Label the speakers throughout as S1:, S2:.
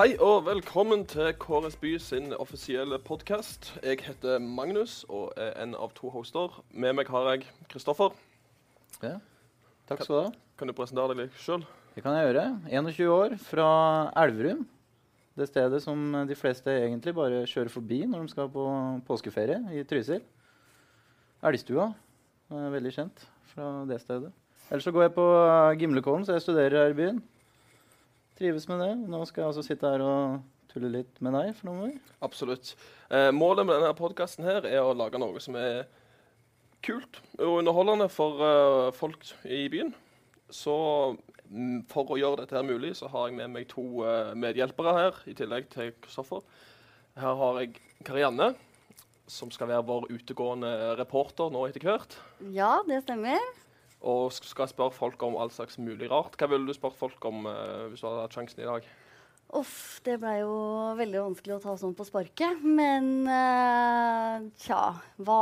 S1: Hei og velkommen til KRS By sin offisielle podkast. Jeg heter Magnus og er en av to hoster. Med meg har jeg Kristoffer.
S2: Ja. Takk skal du ha.
S1: Kan du presentere deg sjøl?
S2: Det kan jeg gjøre. 21 år, fra Elverum. Det stedet som de fleste egentlig bare kjører forbi når de skal på påskeferie i Trysil. Elgstua. eh, Veldig kjent fra det stedet. Ellers så går jeg på eh, Gimlekollen, så jeg studerer her i byen. Trives med det. Nå skal jeg altså sitte her og tulle litt med deg for noen år.
S1: Absolutt. Eh, målet med denne podkasten her er å lage noe som er kult og underholdende for eh, folk i byen. Så mm, for å gjøre dette her mulig, så har jeg med meg to eh, medhjelpere her, i tillegg til Kristoffer. Her har jeg Karianne, som skal være vår utegående reporter nå etter hvert.
S3: Ja, det stemmer.
S1: Og sk- skal spørre folk om all slags mulig rart. Hva ville du spurt folk om eh, hvis du hadde hatt sjansen i dag?
S3: Uff, det blei jo veldig vanskelig å ta sånn på sparket. Men eh, tja, hva,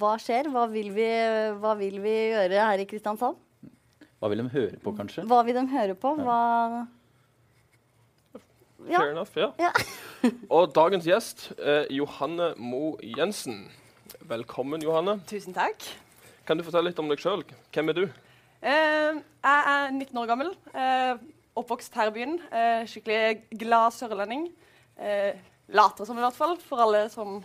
S3: hva skjer? Hva vil, vi, hva vil vi gjøre her i Kristiansand?
S2: Hva vil de høre på, kanskje?
S3: Hva vil de høre på? Hva Ja.
S1: Fair enough, ja.
S3: Ja.
S1: Og dagens gjest, eh, Johanne Mo Jensen. Velkommen, Johanne.
S4: Tusen takk.
S1: Kan du fortelle litt om deg sjøl? Hvem er du?
S4: Eh, jeg er 19 år gammel, eh, oppvokst her i byen. eh, skikkelig glad sørlending. Eh, later som i hvert fall, for alle som,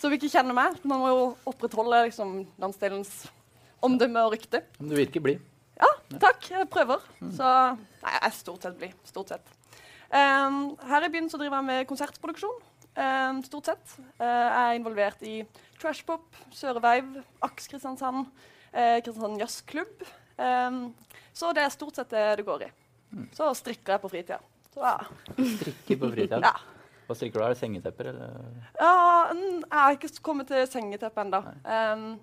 S4: som ikke kjenner meg. Man må jo opprettholde liksom, landsdelens omdømme og rykte.
S2: Men Du virker blid.
S4: Ja, takk. Jeg prøver. Så Nei, jeg er stort sett blid. Stort sett. Ehm, her i byen så driver jeg med konsertproduksjon. ehm, stort sett. Eh, jeg er involvert i Trashpop, Sørveiv, Aks Kristiansand, eh, Kristiansand Jazzklubb. Ehm, så det er stort sett det det går i. Så strikker jeg på fritida. Så, ja.
S2: Ikke på fritiden.
S4: Ja.
S2: Hva strikker du av? Sengetepper, eller?
S4: Ja, mm, jeg har ikke kommet til sengeteppet ennå.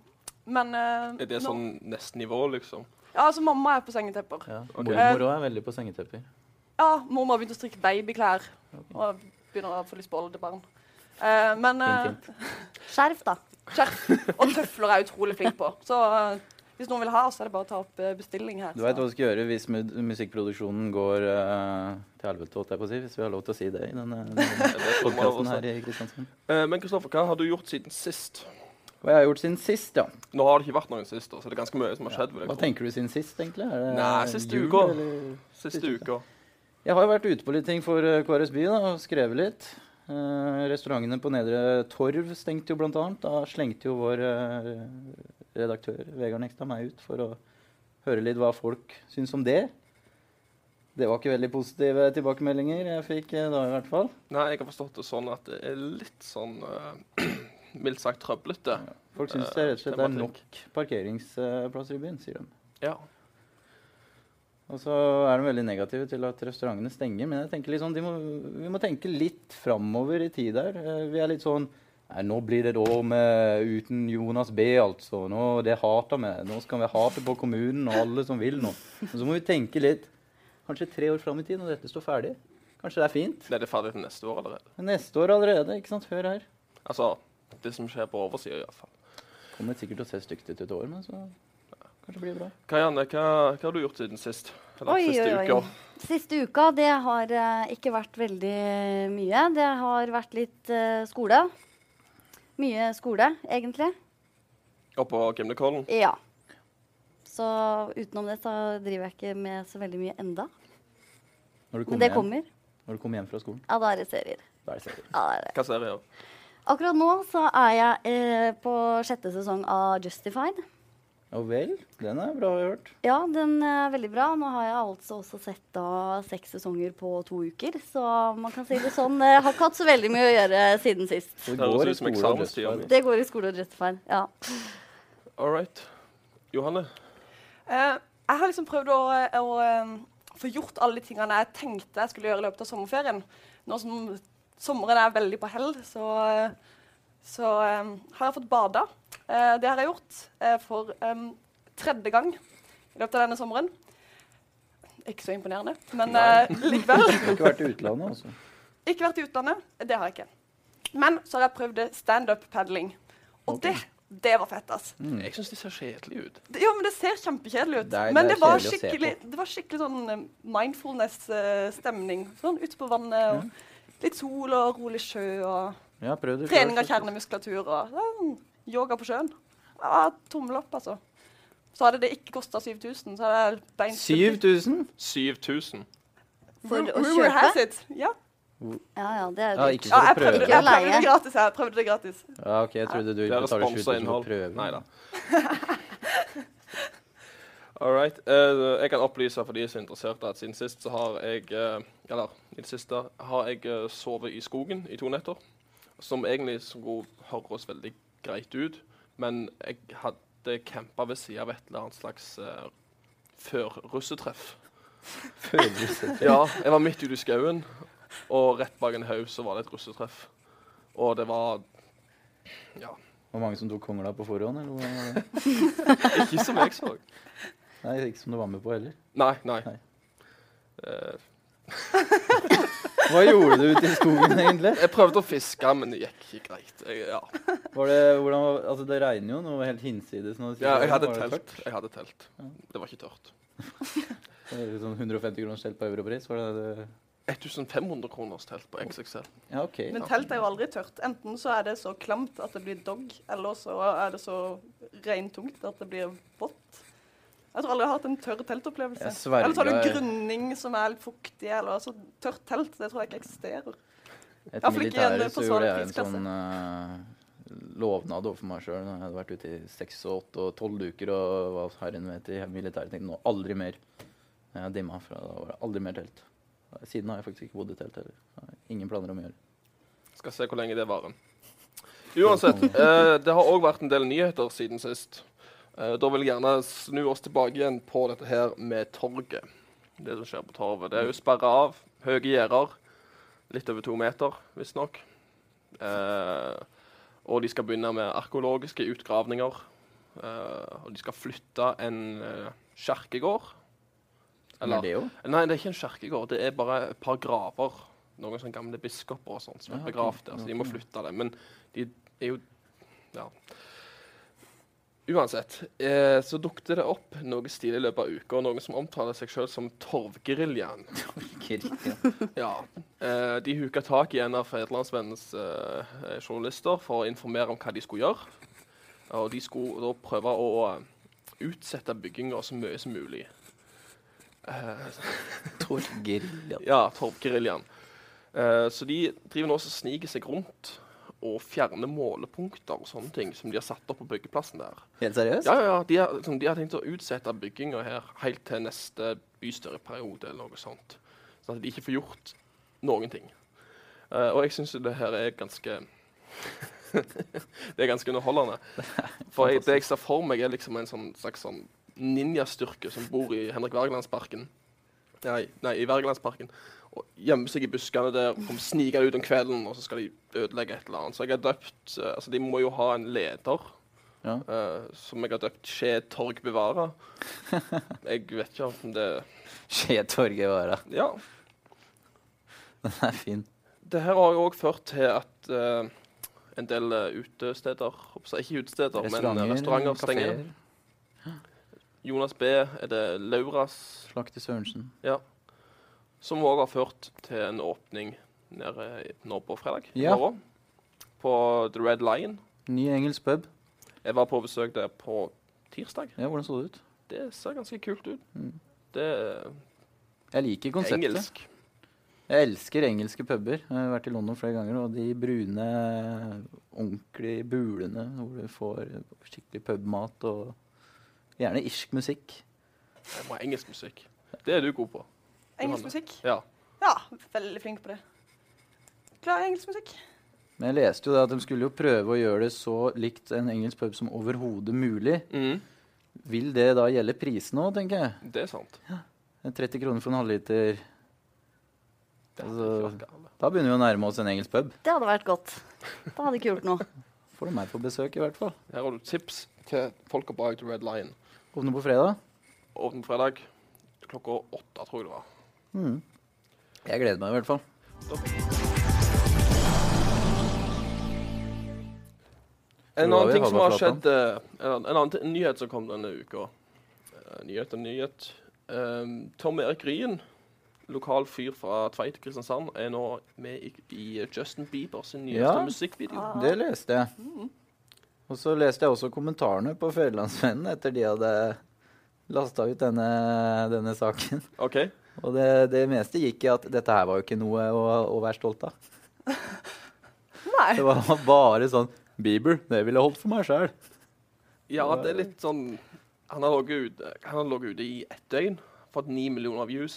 S4: men eh,
S1: Er det
S4: nå-
S1: sånn nesten nivå, liksom?
S4: Ja, altså mamma er på sengetepper.
S2: Ja.
S1: Ok.
S2: Mormor òg er veldig på sengetepper.
S4: Ja, mormor har begynt å strikke babyklær. Og begynner å få lyst på oldebarn. Eh, men eh,
S2: Fint, fint.
S3: Skjerf, da.
S4: skjerf og tøfler er jeg utrolig flink på. Så eh, hvis noen vil ha, så er det bare å ta opp eh, bestilling her.
S2: Du veit
S4: så.
S2: hva du skal gjøre hvis mu musikkproduksjonen går eh, til helvete, holdt jeg på å si. Hvis vi har lov til å si det i denne, denne podkasten her i Kristiansand.
S1: Eh, men Kristoffer, hva har du gjort siden sist?
S2: Hva jeg har gjort siden sist, ja.
S1: Nå har det ikke vært noen sist, da, så det er ganske mye som har skjedd. vil jeg
S2: Hva
S1: tro.
S2: tenker du siden sist, egentlig? Er det
S1: Nei, siste
S2: jul,
S1: uka.
S2: eller?
S1: Siste uka.
S2: Jeg har jo vært ute på litt ting for eh, KRS By da, og skrevet litt. Eh, restaurantene på Nedre Torv stengte jo blant annet. Da slengte jo vår eh, redaktør Vegard Nekstad meg ut for å høre litt hva folk syns om det. Det var ikke veldig positive tilbakemeldinger jeg fikk eh, da, i hvert fall.
S1: Nei, jeg har forstått det sånn at det er litt sånn eh, mildt sagt trøblete.
S2: Folk syns det rett og slett er
S1: Tematikk.
S2: nok parkeringsplasser i byen, sier de.
S1: Ja.
S2: Og så er de veldig negative til at restaurantene stenger. Men jeg tenker liksom, de må, vi må tenke litt framover i tid der. Eh, Vi er litt sånn Nei, nå blir det da med uten Jonas B, altså. Nå, det hater vi. Nå skal vi hate på kommunen og alle som vil nå. Men så må vi tenke litt kanskje tre år fram i tid, når dette står ferdig. Kanskje det er fint.
S1: Er det ferdig til neste år allerede?
S2: Men neste år allerede. ikke sant? Hør her.
S1: Altså, det som skjer på oversida, iallfall.
S2: Kommer sikkert til å se stygt ut et år, men så kanskje blir det bra.
S1: Karianne, hva, hva har du gjort siden sist? Eller
S3: Oi,
S1: siste
S3: oi, oi.
S1: uker?
S3: Siste uka det har eh, ikke vært veldig mye. Det har vært litt eh, skole. Mye skole, egentlig.
S1: Oppe på Gimlekollen?
S3: Ja. Så utenom det så driver jeg ikke med så veldig mye enda.
S2: Når du
S3: Men
S2: kommer,
S3: det kommer.
S2: Hjem, når du kommer hjem fra skolen,
S3: Ja, da er det serier.
S2: da er det seriøst.
S3: Ja, da er det.
S1: Hva ser jeg?
S3: Akkurat nå så er jeg eh, på sjette sesong av Justified.
S2: Ja vel. Den er bra hørt.
S3: Ja, den er veldig bra. Nå har jeg altså også sett da seks sesonger på to uker. Så man kan si det sånn. Jeg har ikke hatt så veldig mye å gjøre siden sist.
S2: Så
S1: Det høres
S2: går i
S1: ut som
S2: skole og
S1: eksamenstid,
S2: dødsfall.
S1: ja.
S3: Det går i skole og Justified. Ja.
S1: All right. Johanne,
S4: Eh, jeg har liksom prøvd å, eh, å eh, få gjort alle de tingene jeg tenkte jeg skulle gjøre i løpet av sommerferien. Nå som sommeren er veldig på hell, så, eh, så eh, har jeg fått bada. Eh, det har jeg gjort eh, for eh, tredje gang i løpet av denne sommeren. Ikke så imponerende, men
S1: Nei.
S4: eh, likevel.
S2: Du har ikke vært i utlandet, altså.
S4: Ikke vært i utlandet. Det har jeg ikke. Men så har jeg prøvd standup-padling. Og
S2: Ok.
S4: det Det var fett, ass.
S1: Jeg syns de ser kjedelige ut.
S4: Det- Ja, men det ser kjempekjedelig ut.
S2: Det er- det
S4: men det,
S2: er
S4: var
S2: kjedelig å se
S4: skikkelig, det var skikkelig sånn mindfulness-stemning. Sånn ute på vannet og litt sol og rolig sjø og
S2: Jeg har prøvd det selv,
S4: trening av
S2: faktisk.
S4: kjernemuskulatur og sånn, yoga på sjøen. Ja, tommel opp, altså. Så hadde det ikke kosta 7000, så hadde jeg beint
S2: 7000?
S1: 7000.
S3: For å
S4: Rumor has
S3: kjøpe?
S4: it. Ja.
S3: Ja ja, det er
S2: Ja,
S3: jo dyrt.
S2: ikke
S4: ja,
S2: for å
S4: jeg
S2: prøve.
S4: prøvde, jeg prøvde
S3: Leie.
S4: det gratis. Jeg prøvde det gratis.
S2: Ja, ok, jeg trodde du
S1: Det er
S2: betaler 7000
S1: responsa
S2: for
S1: innhold.
S2: prøven.
S1: Nei da. All right. Eh, jeg kan opplyse for de som er interessert at siden sist så har jeg eh, Eller i det siste har jeg eh, sovet i skogen i to netter. Som egentlig skulle høres veldig greit ut, men jeg hadde campa ved sida av et eller annet slags eh, før-russetreff. Ja, jeg var midt ute i skauen, og rett bak en haug så var det et russetreff. Og det var
S2: Hvor mange som tok kongla på forhånd? Eller? hvordan var det?
S1: ikke som jeg så.
S2: Nei, ikke som du var med på heller.
S1: Nei, nei.
S2: Nei.
S1: Eh,
S2: Hva gjorde du ute i skogen, egentlig?
S1: jeg prøvde å fiske, men det gikk ikke greit. Jeg, ja.
S2: Var det, hvordan, var- altså, det regner jo noe helt hinsides. Når du sier
S1: Ja,
S2: det,
S1: jeg hadde
S2: var det
S1: telt.
S2: tørt?
S1: Jeg hadde telt.
S2: Ja.
S1: Det var ikke tørt.
S2: Det er Sånn 150 kroner stelt på europris? Var det det?
S1: 1500 kroners telt på XXL.
S2: Ja, OK.
S4: Men telt er jo aldri tørt. Enten så er det så klamt at det blir dog, eller så er det så regntungt at det blir vått. Jeg tror aldri jeg har hatt en tørr teltopplevelse.
S2: Jeg sverger-
S4: Eller så har altså, du grunning som er litt fuktig, eller altså tørt telt. Det tror jeg ikke eksisterer.
S2: Etter
S4: Ja, for ikke igjen
S2: militæret
S4: på
S2: så gjorde jeg en
S4: svarfisklasse.
S2: sånn eh, lovnad overfor meg sjøl. Jeg hadde vært ute i seks og åtte og tolv uker og hva herren vet i militæret. tenkte nå aldri mer. Jeg har dimma fra da var det aldri mer telt. Siden har jeg faktisk ikke bodd i telt heller. Jeg har Ingen planer om å gjøre det.
S1: Skal se hvor lenge det varer. Uansett, eh, det har òg vært en del nyheter siden sist. Eh, da vil jeg gjerne snu oss tilbake igjen på dette her med torget. Det som skjer på torvet. Det er jo sperra av. Høye gjerder. Litt over to meter, visstnok. Eh, og de skal begynne med arkeologiske utgravninger. Eh, og de skal flytte en eh, kjerkegård.
S2: Men det er jo.
S1: Nei, det er ikke en kjerkegård. Det er bare et par graver. Noen sånne gamle biskoper og sånt som
S2: Ja,
S1: er
S2: ok.
S1: begravd der, så de må flytte det. Men de er jo Ja. Uansett, eh, så dukket det opp noe stilig i løpet av uka, og noen som omtaler seg sjøl som Torvgeriljaen.
S2: Kirke.
S1: Ja. Eh, de huka tak i en av Fedrelandsvennens eh, eh, journalister for å informere om hva de skulle gjøre. Og de skulle da prøve å eh, utsette bygginga så mye som mulig. Eh,
S2: Torgerill.
S1: ja, Torpgeriljaen. Eh, så de driver nå og sniker seg rundt og fjerner målepunkter og sånne ting som de har satt opp på byggeplassen der.
S2: Helt seriøst?
S1: Ja, ja, ja, de har, liksom, de har tenkt å utsette bygginga her helt til neste bystyreperiode eller noe sånt. Sånn at de ikke får gjort noen ting. Eh, og jeg syns det her er ganske Det er ganske underholdende. For jeg, det jeg ser for meg, er liksom en sånn, slags sånn ninjastyrke som bor i Henrik Wergelandsparken. Nei, nei, i Wergelandsparken. Og gjemmer seg i buskene der, kom snikende ut om kvelden, og så skal de ødelegge et eller annet. Så jeg har døpt eh, Altså, de må jo ha en leder.
S2: Ja.
S1: Eh, som jeg har døpt Skje Torg bevare. Jeg vet ikke om det
S2: Skje torget vara.
S1: Ja.
S2: Den er fin.
S1: Det her har jo òg ført til at eh, en del eh, utesteder håper jeg, Ikke utesteder, men eh, restauranter stenger.
S2: kaféer.
S1: Jonas B. Er det Lauras
S2: Slakter Sørensen.
S1: Som òg har ført til en åpning nede i- nå på fredag. i
S2: Ja.
S1: morgen, På The Red Lion.
S2: Ny engelsk pub.
S1: Jeg var på besøk der på tirsdag.
S2: Ja, hvordan så det ut?
S1: Det ser ganske kult ut.
S2: Mm.
S1: Det er
S2: Jeg liker konseptet.
S1: engelsk.
S2: Jeg elsker engelske puber. Jeg har vært i London flere ganger, og de brune, ordentlige bulene hvor du får skikkelig pubmat og gjerne irsk musikk.
S1: Jeg må ha engelsk musikk. Det er du god på.
S4: Engelsk musikk.
S1: Ja.
S4: Ja, veldig flink på det. Glad i engelsk musikk.
S2: Men jeg leste jo det at de skulle jo prøve å gjøre det så likt en engelsk pub som overhodet mulig.
S1: Mm.
S2: Vil det da gjelde prisen òg, tenker jeg?
S1: Det er sant.
S2: 30 kroner for en halvliter.
S1: Det hadde
S2: Altså-
S1: ikke vært galt.
S2: Da begynner vi å nærme oss en engelsk pub.
S3: Det hadde vært godt. Det hadde ikke gjort noe.
S2: Får du meg på besøk, i hvert fall.
S1: Her har du tips til folka bak The Red Lion.
S2: Åpner på fredag.
S1: Åpen fredag klokka åtte, tror jeg det var.
S2: Mm. Jeg gleder meg i hvert fall.
S1: Stopp. En
S2: Hvor var
S1: annen
S2: vi,
S1: ting som har
S2: Havarflatan?
S1: skjedd eh, En en annen ti- en nyhet som kom denne uka. Eh, Nyhet og nyhet. Ehm, Tom Erik Ryen, lokal fyr fra Tveit i Kristiansand, er nå med i, i Justin Bieber sin nyeste
S2: Ja.
S1: musikkvideo.
S4: Ah.
S2: Det leste jeg. Og så leste jeg også kommentarene på Fødelandsvennen etter de hadde lasta ut denne, denne saken.
S1: OK?
S2: Og det, det meste gikk i at dette her var jo ikke noe å, å være stolt av.
S4: Nei.
S2: Det var bare sånn Bieber, det ville jeg holdt for meg sjæl.
S1: Ja, det er litt sånn Han har ligget ute, han har ligget ute i ett døgn. Fått ni millioner views.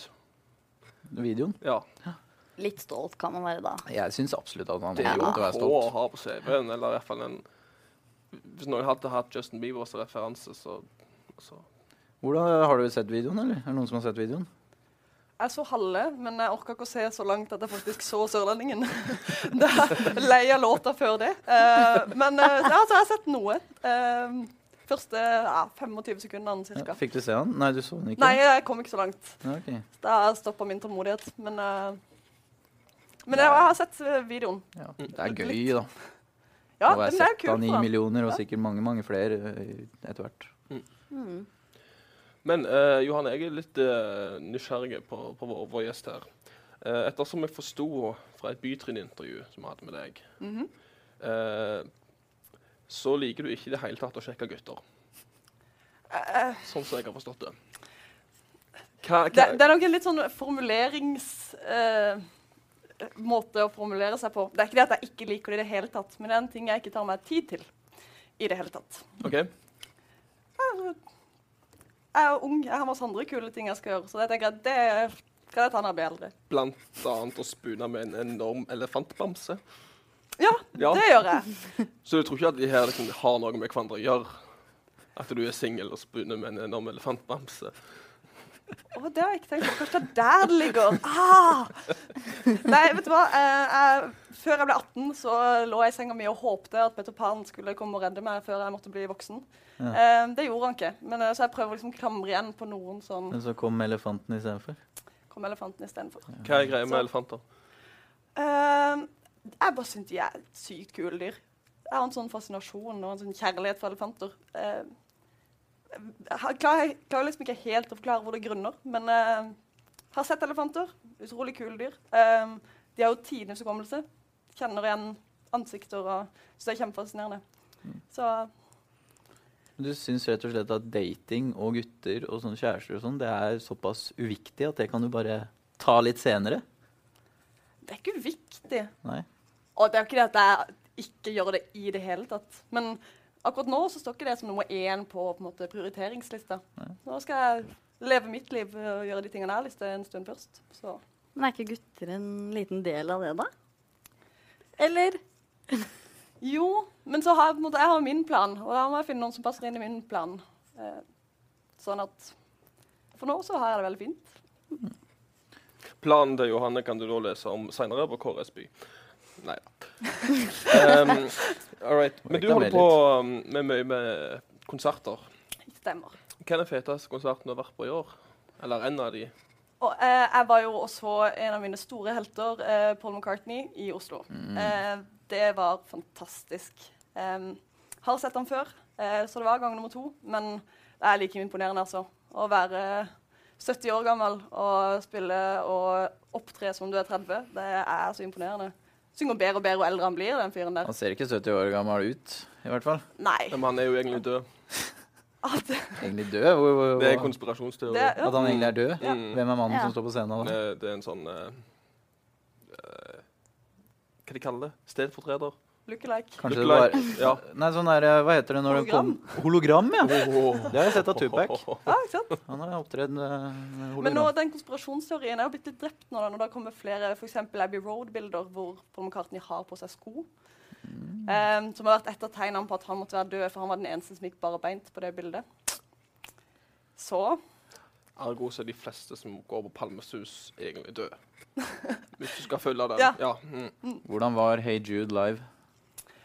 S2: Videoen.
S1: Ja.
S3: Litt stolt kan man være da.
S2: Jeg syns absolutt at han
S1: Det
S2: har
S1: er jo
S2: lov til å
S1: på
S2: være
S1: å
S2: stolt.
S1: ha på CV-en, eller i hvert fall en Hvis noen hadde hatt Justin Bieber som referanse, så, så
S2: Hvordan, har du sett videoen, eller? Er det noen som har sett videoen?
S4: Jeg så halve, men jeg orka ikke å se så langt at jeg faktisk så Sørlendingen. da lei av låta før det. Eh, men eh, ja, så jeg har sett noe. Eh, første ja, 25 sekundene
S2: Ja,
S4: ca.
S2: fikk du se han? Nei, du så den ikke?
S4: Nei, jeg kom ikke så langt.
S2: Ja, ok.
S4: Da stoppa min tålmodighet. Men, eh, men jeg, jeg har sett eh, videoen.
S2: ja. Det er gøy, da.
S4: Ja,
S2: å være
S4: den er jo
S2: sett
S4: kul
S2: av ni
S4: for ham.
S2: millioner, og
S4: Ja.
S2: sikkert mange, mange flere eh, etter hvert.
S3: Mm.
S1: Men eh, Johan, jeg er litt eh, nysgjerrig på, på vår, vår gjest her. Eh, ettersom jeg forsto fra et bytrinnintervju som vi hadde med deg,
S4: Mhm.
S1: eh, så liker du ikke i det hele tatt å sjekke gutter.
S4: Eh,
S1: Sånn som jeg har forstått det. Hva, hva,
S4: Det, det er nok en litt sånn formuleringsmåte måte å formulere seg på. Det er ikke det at jeg ikke liker det i det hele tatt, men det er en ting jeg ikke tar meg tid til i det hele tatt.
S1: OK.
S4: Jeg er ung, jeg har masse andre kule ting jeg skal gjøre, så jeg tenker at det kan jeg ta når jeg blir eldre.
S1: Blant annet å spune med en enorm elefantbamse.
S4: Ja,
S1: Ja.
S4: det gjør jeg.
S1: Så du tror ikke at de her liksom, har noe med hverandre å gjøre? At du er singel og spuner med en enorm elefantbamse?
S4: Å, det har jeg ikke tenkt på. Kanskje det er der det ligger. Ah! Nei, vet du hva. Eh, jeg, før jeg ble 18, så lå jeg i senga mi og håpte at Peter Pan skulle komme og redde meg før jeg måtte bli voksen.
S2: Ja.
S4: Eh, det gjorde han ikke, men, eh, så jeg prøver liksom å klamre igjen på noen som
S2: Men så kom elefanten istedenfor.
S4: kom elefanten istedenfor.
S1: Hva er greia med
S4: Så-
S1: elefanter?
S4: Uh, jeg bare syns de er sykt kule dyr. Jeg har en sånn fascinasjon og en sånn kjærlighet for elefanter. Eh, jeg har- klarer, jeg klarer liksom ikke helt å forklare hvor det grunner, men eh, har sett elefanter. Utrolig kule dyr. Eh, de har jo tidenes hukommelse. Kjenner igjen ansikter og syns det er kjempefascinerende. Så
S2: Du syns rett og slett at dating og gutter og sånne kjærester og sånn, det er såpass uviktig at det kan du bare ta litt senere?
S4: det er ikke viktig.
S2: Nei.
S4: Og det er jo ikke det at jeg ikke gjør det i det hele tatt. Men akkurat nå så står ikke det som nummer én på, på en måte, prioriteringslista.
S2: Nei.
S4: Nå skal jeg leve mitt liv eh, og gjøre de tingene jeg har lyst til en stund først. Så.
S3: Men er ikke gutter en liten del av det, da? Eller?
S4: Jo, men så har jeg, på en måte, jeg har min plan, og da må jeg finne noen som passer inn i min plan. Eh, sånn at For nå så har jeg det veldig fint.
S1: Planen til Johanne kan du da lese om seinere på KRS By. Nei da. Um, all right. Men du holder på um, med mye med konserter.
S4: Stemmer.
S1: Hva er den feteste konserten du har vært på i år? Eller en av de?
S4: Og eh, jeg var jo også en av mine store helter, eh, Paul McCartney, i Oslo. Eh, det var fantastisk. Em, har sett han før, eh, så det var gang nummer to. Men det er like imponerende, altså. Å være 70 år gammel og spille og opptre som du er 30, det er så imponerende. Synger bedre og bedre jo eldre han blir, den fyren der.
S2: Han ser ikke 70 år gammel ut, i hvert fall.
S4: Nei.
S1: Men han er jo egentlig død.
S4: At, det,
S2: Egentlig død. Hvor, hvor,
S1: Det er Mm. en
S2: hvor-
S1: konspirasjonsteori.
S4: ja.
S2: At han egentlig er død?
S1: Ja.
S2: Hvem er mannen
S3: Ja.
S2: som står på scenen da?
S1: Det, det er en sånn eh, eh, Hva de kaller det? Stedfortreder?
S4: Lookalike.
S2: Kanskje det var
S1: Lookalike. Ja.
S2: Nei, sånn der, eh, hva heter det når
S4: Hologram.
S2: det kom Hologram, ja!
S1: Oh.
S2: Det har jeg sett av Tupac.
S4: Ja, Ah, ikke sant?
S2: Han har opptredd eh, med hologram.
S4: Men nå, den konspirasjonsteorien er jo blitt litt drept nå, da, når det kommer flere for eksempel Abbey Road-bilder hvor Paul McCartney har på seg sko. Em, som har vært et av tegnene på at han måtte være død, for han var den eneste som gikk bare beint på det bildet. Så
S1: Ergo så er de fleste som går på Palmesus, egentlig døde. Hvis du skal følge den.
S4: Ja.
S1: ja. Mm.
S2: Hvordan var Hey Jude live?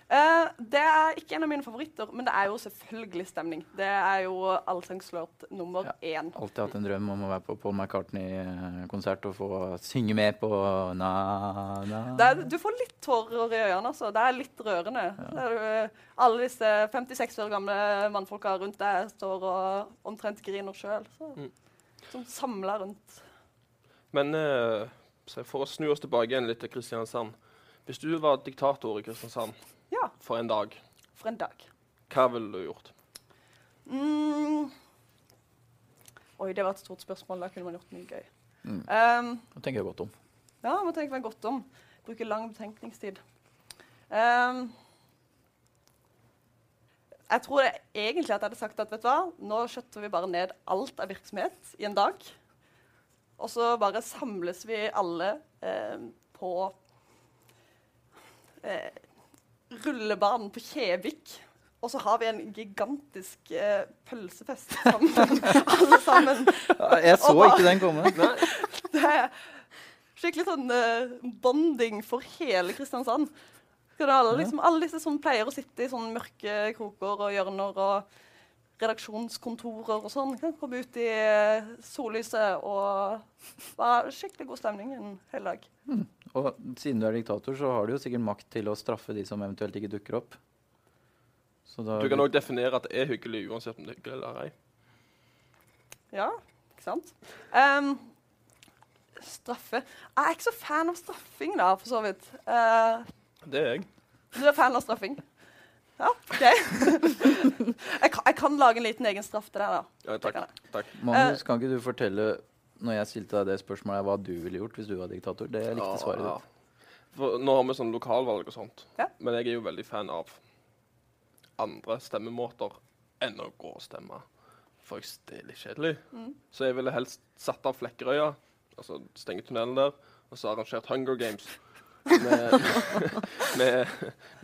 S4: Eh, det er ikke en av mine favoritter, men det er jo selvfølgelig stemning. Det er jo allsangslåt nummer én.
S2: Alltid hatt en drøm om å være på Paul McCartney-konsert og få synge med på na, na.
S4: Det er, du får litt tårer i øynene, altså. Det er litt rørende. Det er, jo, eh, alle disse 56 år gamle mannfolka rundt deg står og omtrent griner sjøl.
S1: Mm.
S4: Som samler rundt.
S1: Men eh, se, for å snu oss tilbake igjen litt til Kristiansand. Hvis du var diktator i Kristiansand
S4: Ja,
S1: for en dag,
S4: for en dag.
S1: hva ville du gjort?
S4: Mm. Oi, det var et stort spørsmål. Da kunne man gjort mye gøy.
S2: Mm.
S4: Um,
S2: Nå tenker jeg godt om.
S4: ja, må tenke meg godt om. Bruke lang betenkningstid. Um, jeg tror jeg egentlig at jeg hadde sagt at vet du hva, nå skjøtter vi bare ned alt av virksomhet i en dag. Og så bare samles vi alle eh, på eh, rullebanen på Kjevik. Og så har vi en gigantisk eh, pølsefest sammen. alle sammen.
S2: Jeg så
S4: Og da-
S2: ikke den komme.
S4: Det er skikkelig sånn eh, bonding for hele Kristiansand. Skal det alle, liksom, alle disse som pleier å sitte i sånne mørke kroker og hjørner og redaksjonskontorer og sånn, kan komme ut i eh, sollyset og det var skikkelig god stemning en hel dag.
S2: Og siden du er diktator, så har du jo sikkert makt til å straffe de som eventuelt ikke dukker opp. Så da
S1: Du kan òg definere at det er hyggelig uansett om det er hyggelig eller ei.
S4: Ja, ikke sant? Ehm, straffe Jeg er ikke så fan av straffing, da, for så vidt. Eh,
S1: Det er jeg.
S4: Du er fan av straffing? Ja, OK. jeg, kan, jeg kan lage en liten egen straff til deg, da.
S1: Ja,
S4: Det
S1: takk.
S4: kan jeg.
S1: takk.
S2: Magnus, kan ikke du fortelle når jeg stilte deg det spørsmålet, hva du ville gjort hvis du var diktator? Det likte svaret
S1: Ja,
S2: ditt.
S1: ja. For nå har vi sånn lokalvalg og sånt,
S4: Ja.
S1: men jeg er jo veldig fan av andre stemmemåter enn å gå og stemme. For jeg, det er litt kjedelig.
S4: Mm.
S1: Så jeg ville helst satt av Flekkerøya, altså stenge tunnelen der, og så arrangert Hunger Games. Med, med,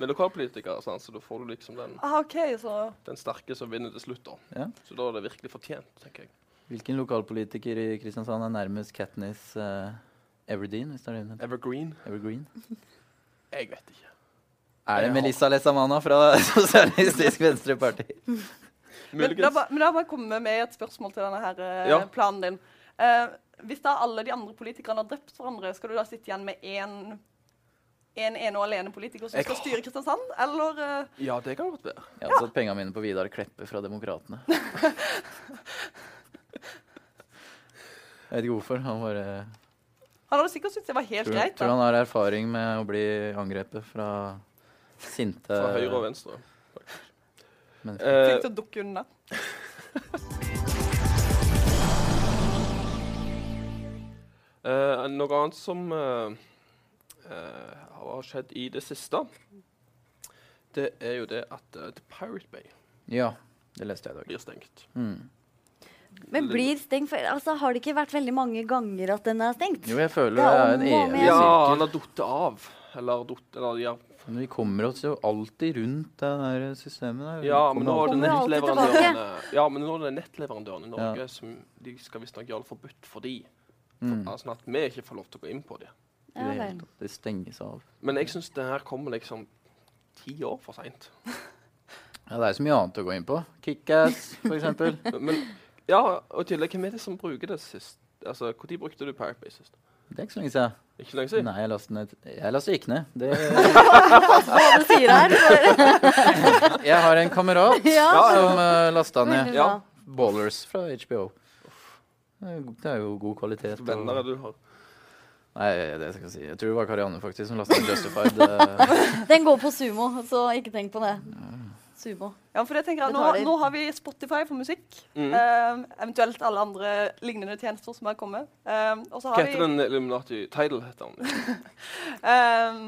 S1: med lokalpolitikere, sant? så da får du liksom den,
S4: Ah, OK, så
S1: den sterke som vinner til slutt. da.
S2: Ja.
S1: Så da er det virkelig fortjent, tenker jeg.
S2: Hvilken lokalpolitiker i Kristiansand er nærmest Katniss eh, Everdeen? Hvis det er det hun heter?
S1: Evergreen?
S2: Evergreen?
S1: Jeg vet ikke.
S2: Er det
S1: Ja.
S2: Melissa Lesamana fra Sosialistisk Venstreparti?
S4: Men da,
S1: Muligens.
S4: ba- men da må jeg komme med et spørsmål til denne her, eh,
S1: Ja.
S4: planen din. Eh, hvis da alle de andre politikerne har drept hverandre, skal du da sitte igjen med én en ene og alene politiker som
S1: Jeg-
S4: skal styre Kristiansand, eller eh,
S1: Ja, det kan godt være.
S2: Jeg hadde satt pengene mine på Vidar Kleppe fra Demokratene. Jeg vet ikke hvorfor. Han bare
S4: Han hadde sikkert syntes det var helt
S2: tror,
S4: greit.
S2: tror
S4: da.
S2: han har erfaring med å bli angrepet fra sinte
S1: Fra høyre og venstre.
S2: mennesker.
S1: Eh,
S4: Flink til å dukke unna.
S1: Eh, noe annet som eh, eh, har skjedd i det siste, det er jo det at eh, The Pirate Bay
S2: Ja, det leste jeg i dag.
S1: blir stengt.
S2: Mm.
S3: Men blir stengt for, altså, Har det ikke vært veldig mange ganger at den er stengt?
S2: Jo, jeg føler
S3: Det
S2: det er
S3: er
S2: en
S3: om og om
S2: evig
S3: igjen.
S1: Ja,
S2: sirkel.
S1: eller datt av. Eller datt Eller ja.
S2: Men vi kommer oss jo alltid rundt det der systemet der. Vi
S1: ja, men
S2: Mm,
S1: nå
S2: kommer
S1: er det
S2: alltid-
S3: Kommer alltid
S1: nettleverandørene Ja, men nå er det nettleverandørene i
S2: Ja.
S1: Norge som de skal visstnok gjøre det forbudt for de. For,
S2: Mm.
S1: Altså at vi ikke får lov til å gå inn på det.
S2: i det
S3: Ja,
S2: hele
S3: vel.
S2: tatt. Det stenges av.
S1: Men jeg syns det her kommer liksom ti år for seint.
S2: Ja, det er så mye annet å gå inn på. Kickass, for eksempel.
S1: Men ja, og i tillegg, hvem er det som bruker det sist? Altså, Når brukte du Pirate Bay sist?
S2: Det er ikke så lenge siden.
S1: Ikke lenge siden?
S2: Nei, jeg lastet ned. Jeg lastet ikke ned. Det,
S3: Hva du sier her? for-
S2: jeg har en kamerat
S3: Ja.
S2: som uh, lasta
S3: Veldig
S2: ned
S1: Ja.
S3: bra.
S2: Ballers fra HBO. Det er jo- det er jo god kvalitet. og-
S1: Venner er det du har.
S2: Nei, det skal jeg si. Jeg tror det var Karianne faktisk som lasta ned Justified. eh.
S3: Den går på sumo, så ikke tenk på det. Sumo.
S4: Ja, for jeg tenker at nå,
S3: Betaler.
S4: nå har vi Spotify for musikk.
S1: Mhm.
S4: eh, eventuelt alle andre lignende tjenester som har kommet. Eh, og så
S1: Hva
S4: har
S1: heter
S4: vi,
S1: den Illuminati Tidal? heter den.
S4: eh,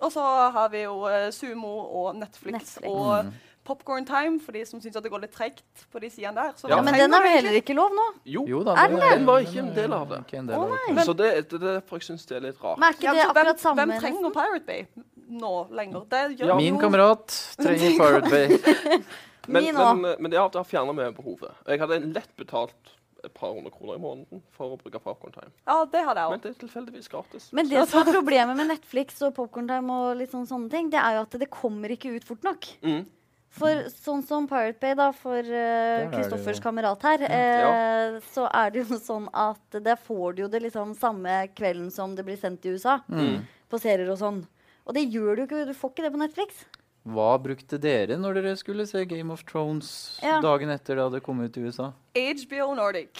S4: og så har vi jo eh, Sumo og Netflix,
S3: Netflix.
S4: og
S1: Mm.
S4: Popcorn Time for de som syns at det går litt treigt på de sidene der. Så
S1: Ja.
S4: hva
S3: Ja, men
S4: trenger
S3: den er
S4: vi
S3: vel
S4: egentlig?
S3: heller ikke lov nå?
S1: Jo.
S2: Jo da,
S3: Er
S2: det-
S3: den det?
S1: Den var ikke en del av det.
S2: Ikke en del
S3: Å,
S2: av det.
S3: nei.
S1: Så det, det, det er derfor jeg syns det er litt rart.
S3: Men er ikke
S4: Ja,
S3: det
S4: så hvem,
S3: akkurat samme?
S4: hvem trenger Pirate Bay nå lenger? Det gjør
S1: Ja.
S2: Min
S4: jo-
S2: kamerat trenger Pirate Bay.
S1: Men, eh,
S3: Min
S1: men, men ja, det har fjerna meg behovet. Jeg hadde lett betalt et par hundre kroner i måneden for å bruke popkorntime.
S4: Ja, det hadde jeg
S1: Men
S4: òg.
S1: det er tilfeldigvis gratis.
S3: Men det som er problemet med Netflix og Popkorntime og litt sånn sånne ting, det er jo at det kommer ikke ut fort nok.
S1: Mm.
S3: For sånn som Pirate Bay, da, for eh,
S2: er det
S3: Kristoffers
S2: jo-
S3: kamerat her, eh, så er det jo sånn at der får du jo det liksom samme kvelden som det blir sendt i USA.
S2: Mm.
S1: Mm.
S3: På serier og sånn. Og det gjør du ikke. Du får ikke det på Netflix.
S2: Hva brukte dere når dere skulle se Game of Thrones
S3: Ja.
S2: dagen etter det hadde kommet til USA?
S4: HBO Nordic.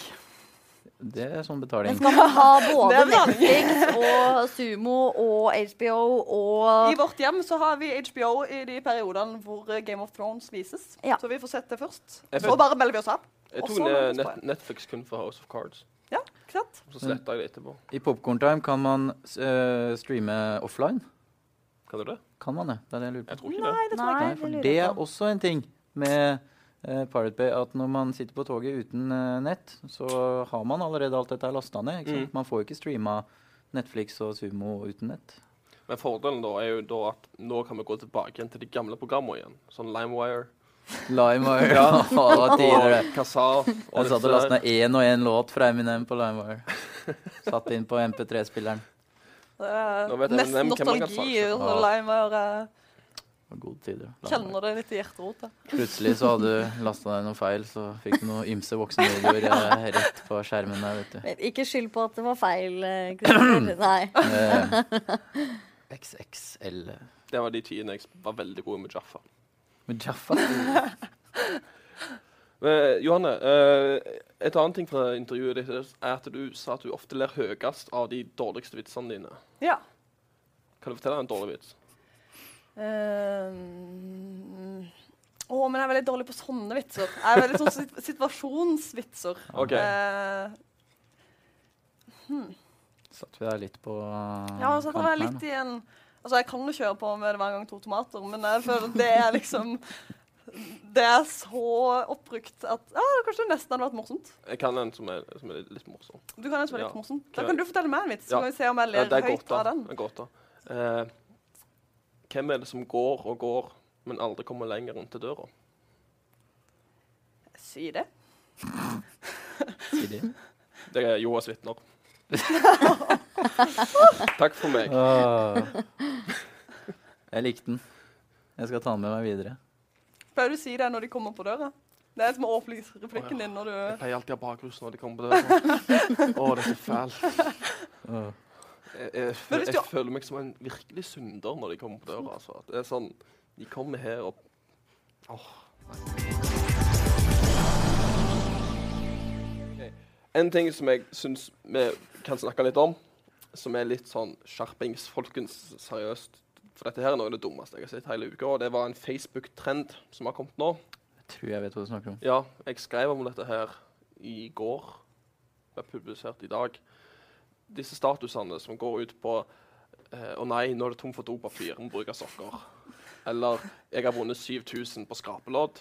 S2: Det er sånn
S3: Men
S2: betaling.
S3: skal man ha både
S4: Det er sant.
S3: Netflix og Sumo og HBO
S4: I
S3: og
S4: vårt hjem så har vi HBO i de periodene hvor eh, Game of Thrones vises.
S3: Ja.
S4: Så vi får sett det først.
S1: Jeg
S4: Så
S1: føl-
S4: bare melder vi oss av.
S1: Jeg tok
S4: Også
S1: ned
S4: Norges
S1: net Netflix kun for House of Cards,
S4: Ja, ikke sant?
S1: og så
S2: Mm.
S1: sletta jeg det etterpå.
S2: I Popkorntime kan man eh, streame offline.
S1: Kan du det?
S2: Kan man det? Det er det jeg lurer på.
S1: Jeg tror ikke
S4: Nei, det tror jeg
S3: Nei,
S2: Nei,
S4: ikke.
S3: det
S2: for
S3: lurer
S2: det
S3: jeg
S2: er
S3: på.
S2: også en ting med eh, Pirate Bay, at når man sitter på toget uten eh, nett, så har man allerede alt dette lasta ned. Ikke sant? Man får ikke streama Netflix og Sumo uten nett.
S1: det. Men fordelen da er jo da at nå kan vi gå tilbake igjen til de gamle programmene igjen. Sånn LimeWire
S2: LimeWire. Ja, hva tider det.
S1: og Kazaa.
S2: Jeg satt og lasta ned én og én låt fra Eminem på LimeWire. Satt inn på MP3-spilleren.
S4: Det
S1: Nå
S4: er
S1: vet jeg
S4: nesten
S1: hvem Kemmer kan
S4: nostalgi.
S1: svare
S2: for.
S4: og Leimer eh,
S2: Det var Gode tider. LimeWire.
S4: kjenner det litt i hjerterota.
S2: Plutselig så hadde du lasta ned noe feil, så fikk du noen ymse voksenvideoer eh, rett på skjermen der, vet du.
S3: Men Ikke skyld på at det var feil. eh, Kristoffer. Nei.
S2: Eh, XXL
S1: Det var de tidene jeg var veldig god med Jaffa.
S2: Med Jaffa.
S1: Eh, Johanne, eh, et annet ting fra intervjuet ditt er at du sa at du ofte ler høyest av de dårligste vitsene dine.
S4: Ja.
S1: Kan du fortelle en dårlig vits?
S4: Um, Å, men jeg er veldig dårlig på sånne vitser. Jeg er veldig sånn sit- situasjonsvitser.
S1: OK.
S4: Eh,
S2: Satt vi der litt på
S4: ja, så det var
S2: kanten her,
S4: litt i en Altså, jeg kan jo kjøre på med det hver gang to tomater, men jeg føler at det er liksom Det er så oppbrukt at Ja, kanskje det nesten hadde vært morsomt.
S1: Jeg kan en som er, som er litt morsom.
S4: Du kan jo spille litt
S1: Ja.
S4: morsomt. Da kan du fortelle meg en vits, så
S1: Ja.
S4: kan vi se om jeg
S1: Ja,
S4: ler
S1: det er
S4: høyt av
S1: gåta.
S4: den.
S1: Det er gåta. Eh, hvem er det som går og går, men aldri kommer lenger rundt til døra?
S4: Si det.
S2: da. Sier de.
S1: Det er Joas vitner. Takk for meg.
S2: Åh. Jeg likte den. Jeg skal ta den med meg videre.
S4: Pleier du å si det når de kommer på døra? Det er som å åpne
S1: Å, ja.
S4: replikken din når
S1: Jeg
S4: du
S1: pleier alltid å ha bakrus når de kommer på døra. sånn. Å, det er så fælt.
S2: Åh.
S1: Jeg, jeg,
S4: Men
S1: føl-
S4: hvis
S1: jeg
S4: du-
S1: føler meg som en virkelig synder når de kommer på døra. Altså. At Det er sånn, De kommer her og Åh. Ok. En ting som jeg syns vi kan snakke litt om, som er litt sånn skjerpings, folkens, seriøst For dette her er noe av det dummeste jeg har sett hele uka. Og det var en Facebook-trend som har kommet nå.
S2: Jeg tror jeg vet hva du snakker om.
S1: Ja, jeg skrev om dette her i går. Det er publisert i dag. Disse statusene som går ut på eh, 'Å nei, nå er det tom for dopapir. Må bruke sokker.' Eller 'Jeg har vunnet 7000 på skrapelodd'.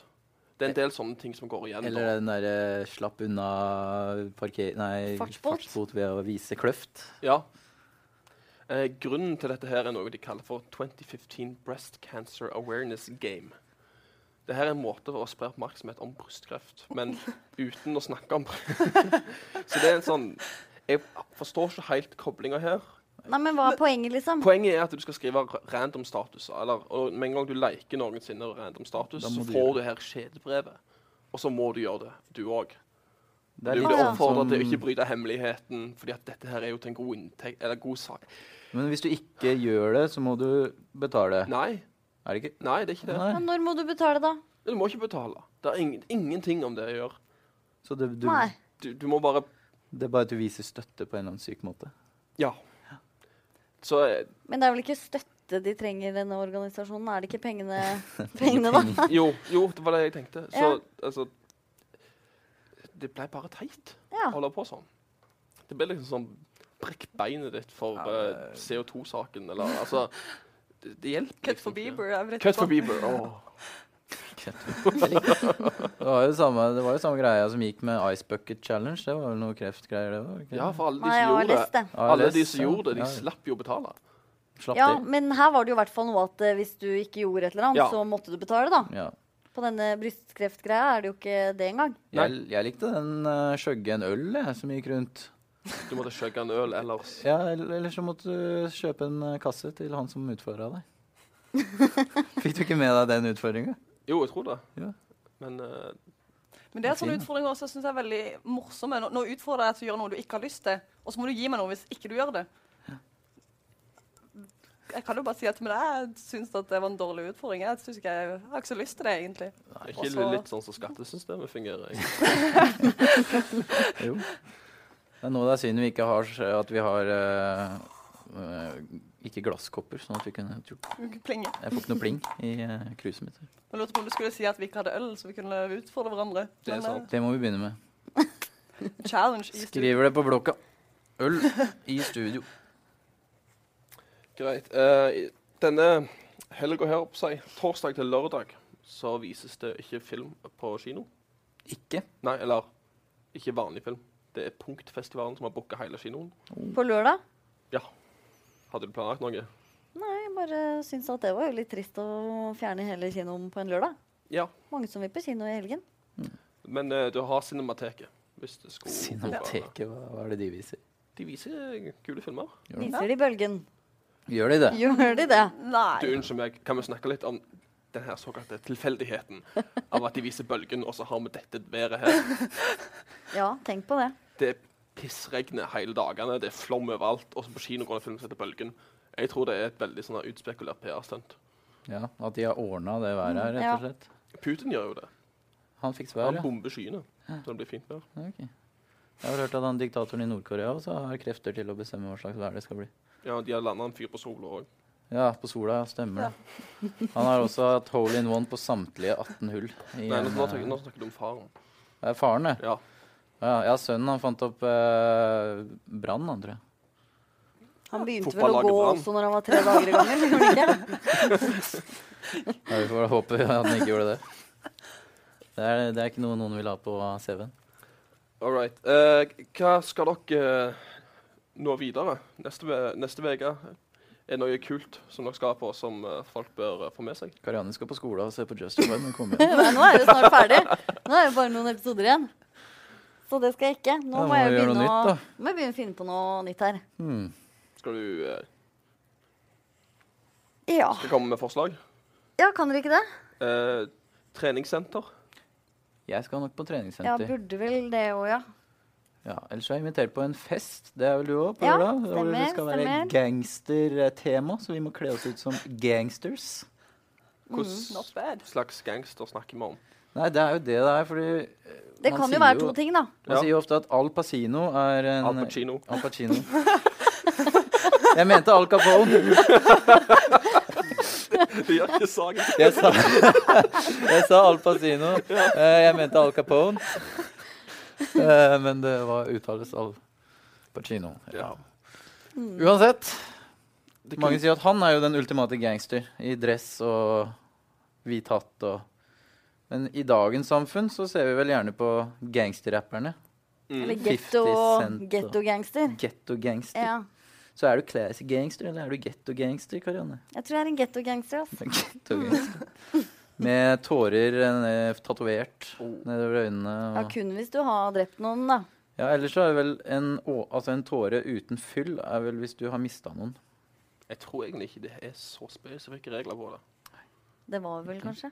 S1: Det er en del sånne ting som går igjen. nå.
S2: Eller den derre slapp unna parker... Nei,
S3: Fartsbot.
S2: ved å vise kløft.
S1: Ja. Eh, grunnen til dette her er noe de kaller for 2015 Breast Cancer Awareness Game. Dette er en måte for å spre oppmerksomhet om brystkreft, men uten å snakke om det. Så det er en sånn Jeg forstår ikke helt koblinga her.
S3: Nei, men hva er poenget, liksom?
S1: Poenget er at du skal skrive ra- random status. Eller, og med en gang du liker noensinne random status,
S2: Da
S1: så
S2: må du
S1: får
S2: gjøre
S1: du her kjedebrevet. Og så må du gjøre det, du òg.
S2: Det
S1: Du
S2: litt
S1: blir
S3: sånn
S1: oppfordra til å
S2: som-
S1: ikke bryte hemmeligheten, fordi at dette her er jo til en god inntekt Eller god sak.
S2: Men hvis du ikke gjør det, så må du betale.
S1: Nei,
S2: Er det ikke?
S1: nei, det er ikke det.
S3: Men
S2: Nei.
S3: når må du betale, da?
S1: Du må ikke betale. Det er ingen, ingenting om det å gjøre.
S2: Så det, du,
S3: Nei.
S1: Du, du må bare
S2: det er bare at du viser støtte på en eller annen syk måte.
S1: Ja. Så eh,
S3: Men det er vel ikke støtte de trenger, denne organisasjonen? Er det ikke pengene, pengene da?
S1: jo, jo, det var det jeg tenkte. Så
S3: Ja.
S1: altså Det ble bare teit
S3: Ja.
S1: å holde på sånn. Det ble liksom sånn Brekk beinet ditt for eh, CO2-saken, eller altså Det, det hjelper
S4: Cut
S1: liksom
S4: for
S1: ikke.
S4: Bieber. Jeg vet
S1: Cut
S4: ikke
S1: for Bieber. åh.
S2: Det var jo samme, det var jo samme greia som gikk med Ice Bucket Challenge. Det var vel noe kreftgreier, det òg?
S1: Ja, for alle de
S3: Nei, jeg
S1: som
S3: har
S1: gjorde
S3: lest
S1: det.
S3: det.
S1: Alle de som gjorde det, de slapp jo å betale.
S2: slapp
S3: Ja,
S2: til.
S3: men her var det jo i hvert fall noe at eh, hvis du ikke gjorde et eller annet,
S1: Ja.
S3: så måtte du betale, da.
S2: Ja.
S3: på denne brystkreftgreia er det jo ikke det engang.
S2: Jeg, jeg likte den uh, skjøgge en øl jeg, som gikk rundt.
S1: Du måtte skjøgge en øl ellers.
S2: Ja, el- Eller så måtte du kjøpe en eh, kasse til han som utfordra deg. Fikk du ikke med deg den utfordringa?
S1: Jo, jeg tror det.
S2: Ja.
S1: Men eh,
S4: Men det er
S2: Den er
S4: sånne
S2: fin, da.
S4: utfordringer også, jeg synes jeg er veldig morsomme. Nå, nå utfordrer jeg deg til å gjøre noe du ikke har lyst til, og så må du gi meg noe hvis ikke du gjør det. Jeg kan jo bare si at men jeg syns at det var en dårlig utfordring. Jeg synes ikke jeg, jeg har ikke så lyst til det, egentlig.
S1: er ikke
S2: altså.
S4: også-
S1: litt sånn som skattesystemet fungerer? egentlig?
S2: Jo. Det er noe det er synd vi ikke har s- at vi har eh, eh, ikke glasskopper, sånn at vi kunne gjort
S4: Plinge.
S2: Jeg får ikke noe pling i eh, kruset mitt.
S4: Jeg lurte på om du skulle si at vi ikke hadde øl, så vi kunne utfordre hverandre.
S1: Det er
S4: Men,
S1: sant.
S2: Det må vi begynne med.
S4: eh, Challenge i studio.
S2: Skriver det på blokka. Øl i studio.
S1: Greit. Eh, i- denne helga her, på seg, torsdag til lørdag, så vises det ikke film på kino.
S2: Ikke.
S1: Nei, eller ikke vanlig film. Det er Punktfestivalen som har booka hele kinoen.
S3: På lørdag?
S1: Hadde du planlagt noe?
S3: Nei, jeg bare syns at det var jo litt trist å fjerne hele kinoen på en lørdag.
S1: Ja.
S3: Mange som vil på kino i helgen.
S1: Men eh, du har Cinemateket. Hvis det skulle
S2: Cinemateket, hva, hva er det de viser?
S1: De viser kule filmer.
S2: Gjør de,
S3: Viser de bølgen?
S2: Gjør de det?
S3: Gjør de det?
S1: Du,
S4: Nei.
S1: Unnskyld meg, kan vi snakke litt om den her såkalte tilfeldigheten av at de viser bølgen, og så har vi dette været her?
S3: Ja, tenk på det.
S1: Det pissregner hele dagene, det er flom overalt, og så på kino går det en film som heter Bølgen. Jeg tror det er et veldig sånn her utspekulert PR-stunt.
S2: Ja, At de har ordna det været her, rett
S3: Mm, Ja.
S2: og slett.
S1: Putin gjør jo det.
S2: Han fikk
S1: Han
S2: sværet.
S1: bomber skyene, så det blir fint vær.
S2: Ok. Jeg har hørt at han diktatoren i Nord-Korea også har krefter til å bestemme hva slags vær det skal bli.
S1: Ja, de har landa en fyr på sola òg.
S2: Ja, på sola ja, stemmer det. Han har også hatt hole in one på samtlige 18 hull. i
S1: Nei, nå,
S2: en,
S1: nå, snakker,
S2: eh,
S1: nå snakker du om faren.
S2: det er faren, det.
S1: Ja.
S2: Ja, ja, sønnen han fant opp eh, brann, han, tror jeg.
S3: Han begynte vel å
S1: Fotballaget
S3: gå
S1: brann.
S3: også når han var tre dager i gangen. gjorde han ikke?
S2: Ja, vi får bare håpe at han ikke gjorde det. Det er, det er ikke noe noen vil ha på CV-en.
S1: All right. Eh, hva skal dere eh, nå videre? Neste ve- neste uke er det noe kult som dere skal på, som eh, folk bør eh, få med seg.
S2: Karianne skal på skolen og se på Justified når hun kommer hjem.
S3: Nei, nå er det snart ferdig. Nå er det bare noen episoder igjen. Så det skal jeg ikke. Nå
S2: Ja,
S3: må jeg
S2: vi gjøre
S3: begynne,
S2: noe
S3: å,
S2: nytt,
S3: må jeg begynne å finne på noe nytt her.
S2: da. Hmm.
S1: Skal du eh,
S3: Ja,
S1: skal jeg komme med forslag?
S3: ja kan dere ikke det?
S1: Eh, treningssenter.
S2: Jeg skal nok på
S3: Ja,
S2: treningssenter.
S3: burde vel det òg, ja.
S2: Ja, ellers er jeg invitert på en fest. Det er vel du òg? på
S3: Ja,
S2: lørdag? Hvor det
S3: stemmer,
S2: skal være
S3: stemmer.
S2: gangstertema, så vi må kle oss ut som gangsters.
S4: Not
S1: Hvilken
S4: bad.
S1: slags gangster snakker vi om?
S2: Nei, det er jo det det er, fordi eh,
S3: Det
S2: man
S3: kan
S2: sier
S3: jo være to ting, da.
S2: Man
S1: Ja.
S2: sier jo ofte at Al Pacino er en
S1: Al Pacino.
S2: Al Pacino. Jeg mente Al Capone.
S1: Det gjør ikke saken.
S2: Jeg sa, jeg sa Al Pacino. Eh, Jeg mente Al Capone. Eh, Men det var uttales Al Pacino.
S1: Ja.
S2: Mm. Uansett.
S1: Det
S2: Mange
S1: kunne,
S2: sier at han er jo den ultimate gangster i dress og hvit hatt og Men i dagens samfunn så ser vi vel gjerne på gangsterrapperne.
S1: Mm.
S3: Eller
S2: 50 Cent og-
S3: getto-gangster.
S2: Getto-gangster.
S3: Ja.
S2: Så er du classy gangster, eller er du getto-gangster, Karianne?
S3: Jeg tror jeg er en getto-gangster. ass. Mm.
S2: Getto-gangster. Med tårer eh, tatovert
S1: Oh,
S2: nedover øynene.
S3: Ja,
S2: Og...
S3: kun hvis du har drept noen, da.
S2: Ja, ellers så er det vel en, å, altså en tåre uten fyll er vel hvis du har mista noen.
S1: jeg tror egentlig ikke det er så spesifikke regler på det.
S3: Det var vel kanskje.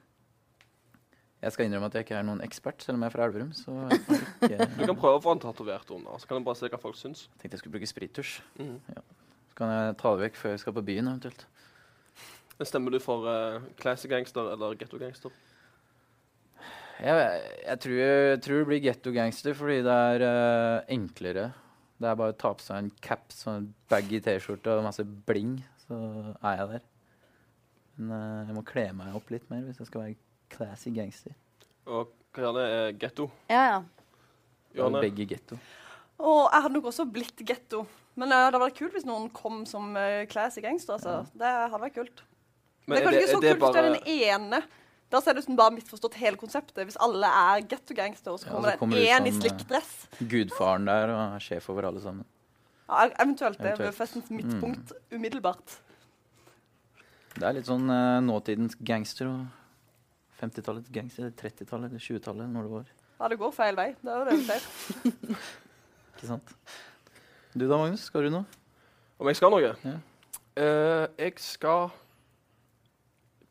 S2: Jeg skal innrømme at jeg ikke er noen ekspert, selv om jeg er fra Elverum. Så jeg, har ikke...
S1: Du kan prøve å få den tatovert under, så kan du bare se hva folk syns.
S2: jeg tenkte jeg skulle bruke sprittusj.
S4: Mm.
S1: Mhm.
S2: Så kan jeg ta det vekk før jeg skal på byen eventuelt.
S1: Stemmer du for eh, classy gangster eller ghetto gangster?
S2: Jeg, jeg, tror, jeg tror det blir getto gangster fordi det er eh, enklere. Det er bare å ta på seg en caps og en baggy T-skjorte og masse bling, så er jeg der. Men eh, jeg må kle meg opp litt mer hvis jeg skal være classy gangster.
S1: Og hva gjerne er ghetto?
S3: Ja, ja.
S2: Da er
S1: Johanne?
S2: vi Begge getto.
S4: Og jeg hadde nok også blitt getto. Men eh, det hadde vært kult hvis noen kom som uh, classy gangster. Altså. Det hadde vært kult. Men det er kanskje ikke så kult hvis du er den ene. Da ser det ut som bare misforstått hele konseptet. Hvis alle er getto-gangster, og så
S2: Ja,
S4: kommer
S2: så
S4: det
S2: kommer
S4: en
S2: det ut
S4: én i
S2: sånn, eh,
S4: slikkdress.
S2: Gudfaren der og er sjef over alle sammen.
S4: Ja, e- eventuelt det ved
S2: eventuelt.
S4: festens midtpunkt umiddelbart.
S2: Det er litt sånn eh, nåtidens gangster å 50-tallet, gangster, 30-tallet, eller 20-tallet, når det var.
S4: Ja, det går feil vei. Det er jo det vi ser.
S2: Ikke sant? Du da, Magnus? Skal du noe?
S1: Om jeg skal noe?
S2: Ja.
S1: Eh, jeg skal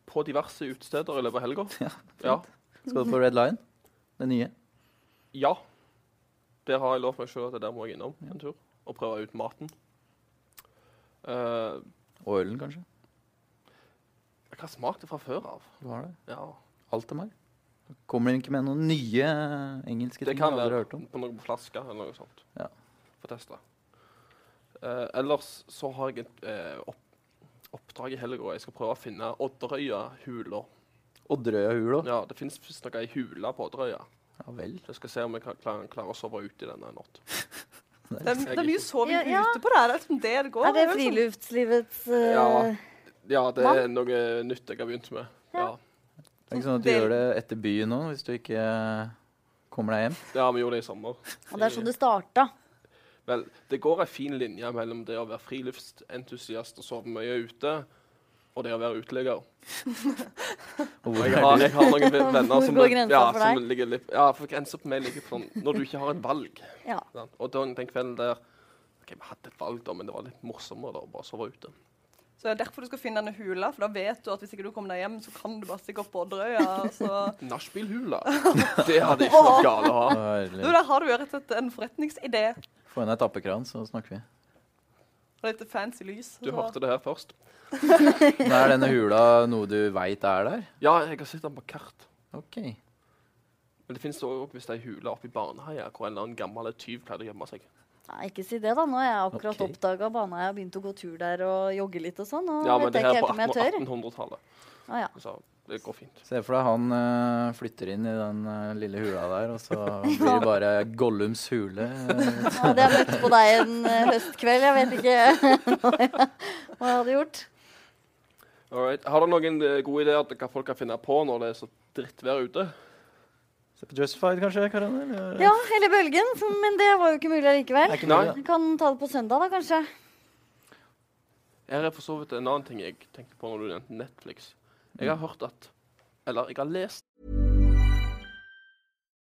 S1: på diverse utesteder i løpet av helga.
S2: Ja,
S1: ja.
S2: Skal du på Red Lion? Det nye?
S1: Ja. Der har jeg lovt meg sjøl at det der må jeg innom en tur og prøve ut maten. Eh,
S2: Og ølen, kanskje?
S1: jeg har smakt det fra før av.
S2: Du har det?
S1: Ja,
S2: Alt er meg. Kommer de ikke med noen nye eh, engelske
S1: Det
S2: ting
S1: kan
S2: jeg aldri
S1: være
S2: har hørt om?
S1: på noen flasker eller noe sånt.
S2: Ja.
S1: Få teste. Eh, ellers så har jeg et eh, opp, oppdrag i helga. Jeg skal prøve å finne Odderøya-hula.
S2: Odderøya hul òg?
S1: Ja, det fins visstnok ei hule på Odderøya.
S2: Ja vel.
S1: Så Jeg skal se om jeg kan klare, klarer å sove ute i denne en natt.
S4: Det er, det er mye soving
S3: Ja, ja.
S4: ute på det her. Det er liksom det det går.
S3: Er det
S4: jo sånn-
S3: friluftslivets eh,
S1: Ja. Ja, det er
S3: Hva?
S1: noe nytt jeg har begynt med. Ja,
S2: Det er ikke sånn at du
S4: Vel-
S2: gjør det etter byen nå, hvis du ikke eh, kommer deg hjem?
S1: ja vi gjorde det i sommer.
S3: Og det er sånn det starta.
S1: Vel, det går ei en fin linje mellom det å være friluftsentusiast og sove mye ute, og det å være uteligger.
S2: Og
S1: Og
S2: hvor
S1: Jeg
S2: er
S1: har,
S2: du?
S1: jeg har noen ve- venner som,
S3: Hvor går grensa
S1: ja,
S3: for deg?
S1: som ligger litt Ja, for grensa på meg ligger på sånn når du ikke har et valg.
S3: Ja.
S1: sant? Og den, den kvelden der OK, vi hadde et valg, da, men det var litt morsommere da å bare sove ute.
S4: liksom- Så det er derfor du skal finne denne hula, for da vet du at hvis ikke du kommer deg hjem, så kan du bare stikke opp på altså. Odderøya. og Så...
S1: Nachspielhula. Det hadde ikke vært galt å ha.
S4: Du,
S2: Herlig.
S4: der har du jo rett og slett en forretningsidé
S2: Få inn et tappekran, så snakker vi.
S4: og litt fancy lys.
S1: Du
S4: så-
S1: hørte det her først.
S2: Men er denne hula noe du veit er der?
S1: Ja, jeg har sett den på kart.
S2: OK.
S1: Men det finnes òg hvis det er ei hule oppe i Baneheia hvor en eller annen gammel tyv pleide å gjemme seg.
S3: Nei, ikke si det, da. Nå har jeg akkurat
S2: Ok.
S3: oppdaget oppdaga bana. Jeg har begynt å gå tur der og jogge litt og sånn. Og
S1: Ja, men
S3: vet
S1: det
S3: jeg
S1: her
S3: ikke
S1: er på
S3: helt om jeg tør.
S1: 1800-tallet,
S3: Å, ja.
S1: så det går fint.
S2: Se for deg han eh, flytter inn i den eh, lille hula der, og så blir det bare Gollums hule. eh,
S3: Nå hadde jeg møtt på deg en eh, høstkveld. Jeg vet ikke hva jeg hadde gjort.
S1: Alright. Har du noen eh, gode ideer til hva folk kan finne på når det er så drittvær ute?
S2: Se på Justified, kanskje, Karan? eller?
S3: Ja, eller bølgen. for- Men det var jo ikke mulig allikevel.
S2: Er ikke mulig,
S1: Nei.
S2: da.
S3: Vi kan ta det på søndag, da, kanskje.
S1: Her er for så vidt en annen ting jeg tenkte på når du nevnte Netflix. Jeg har hørt at Eller jeg har lest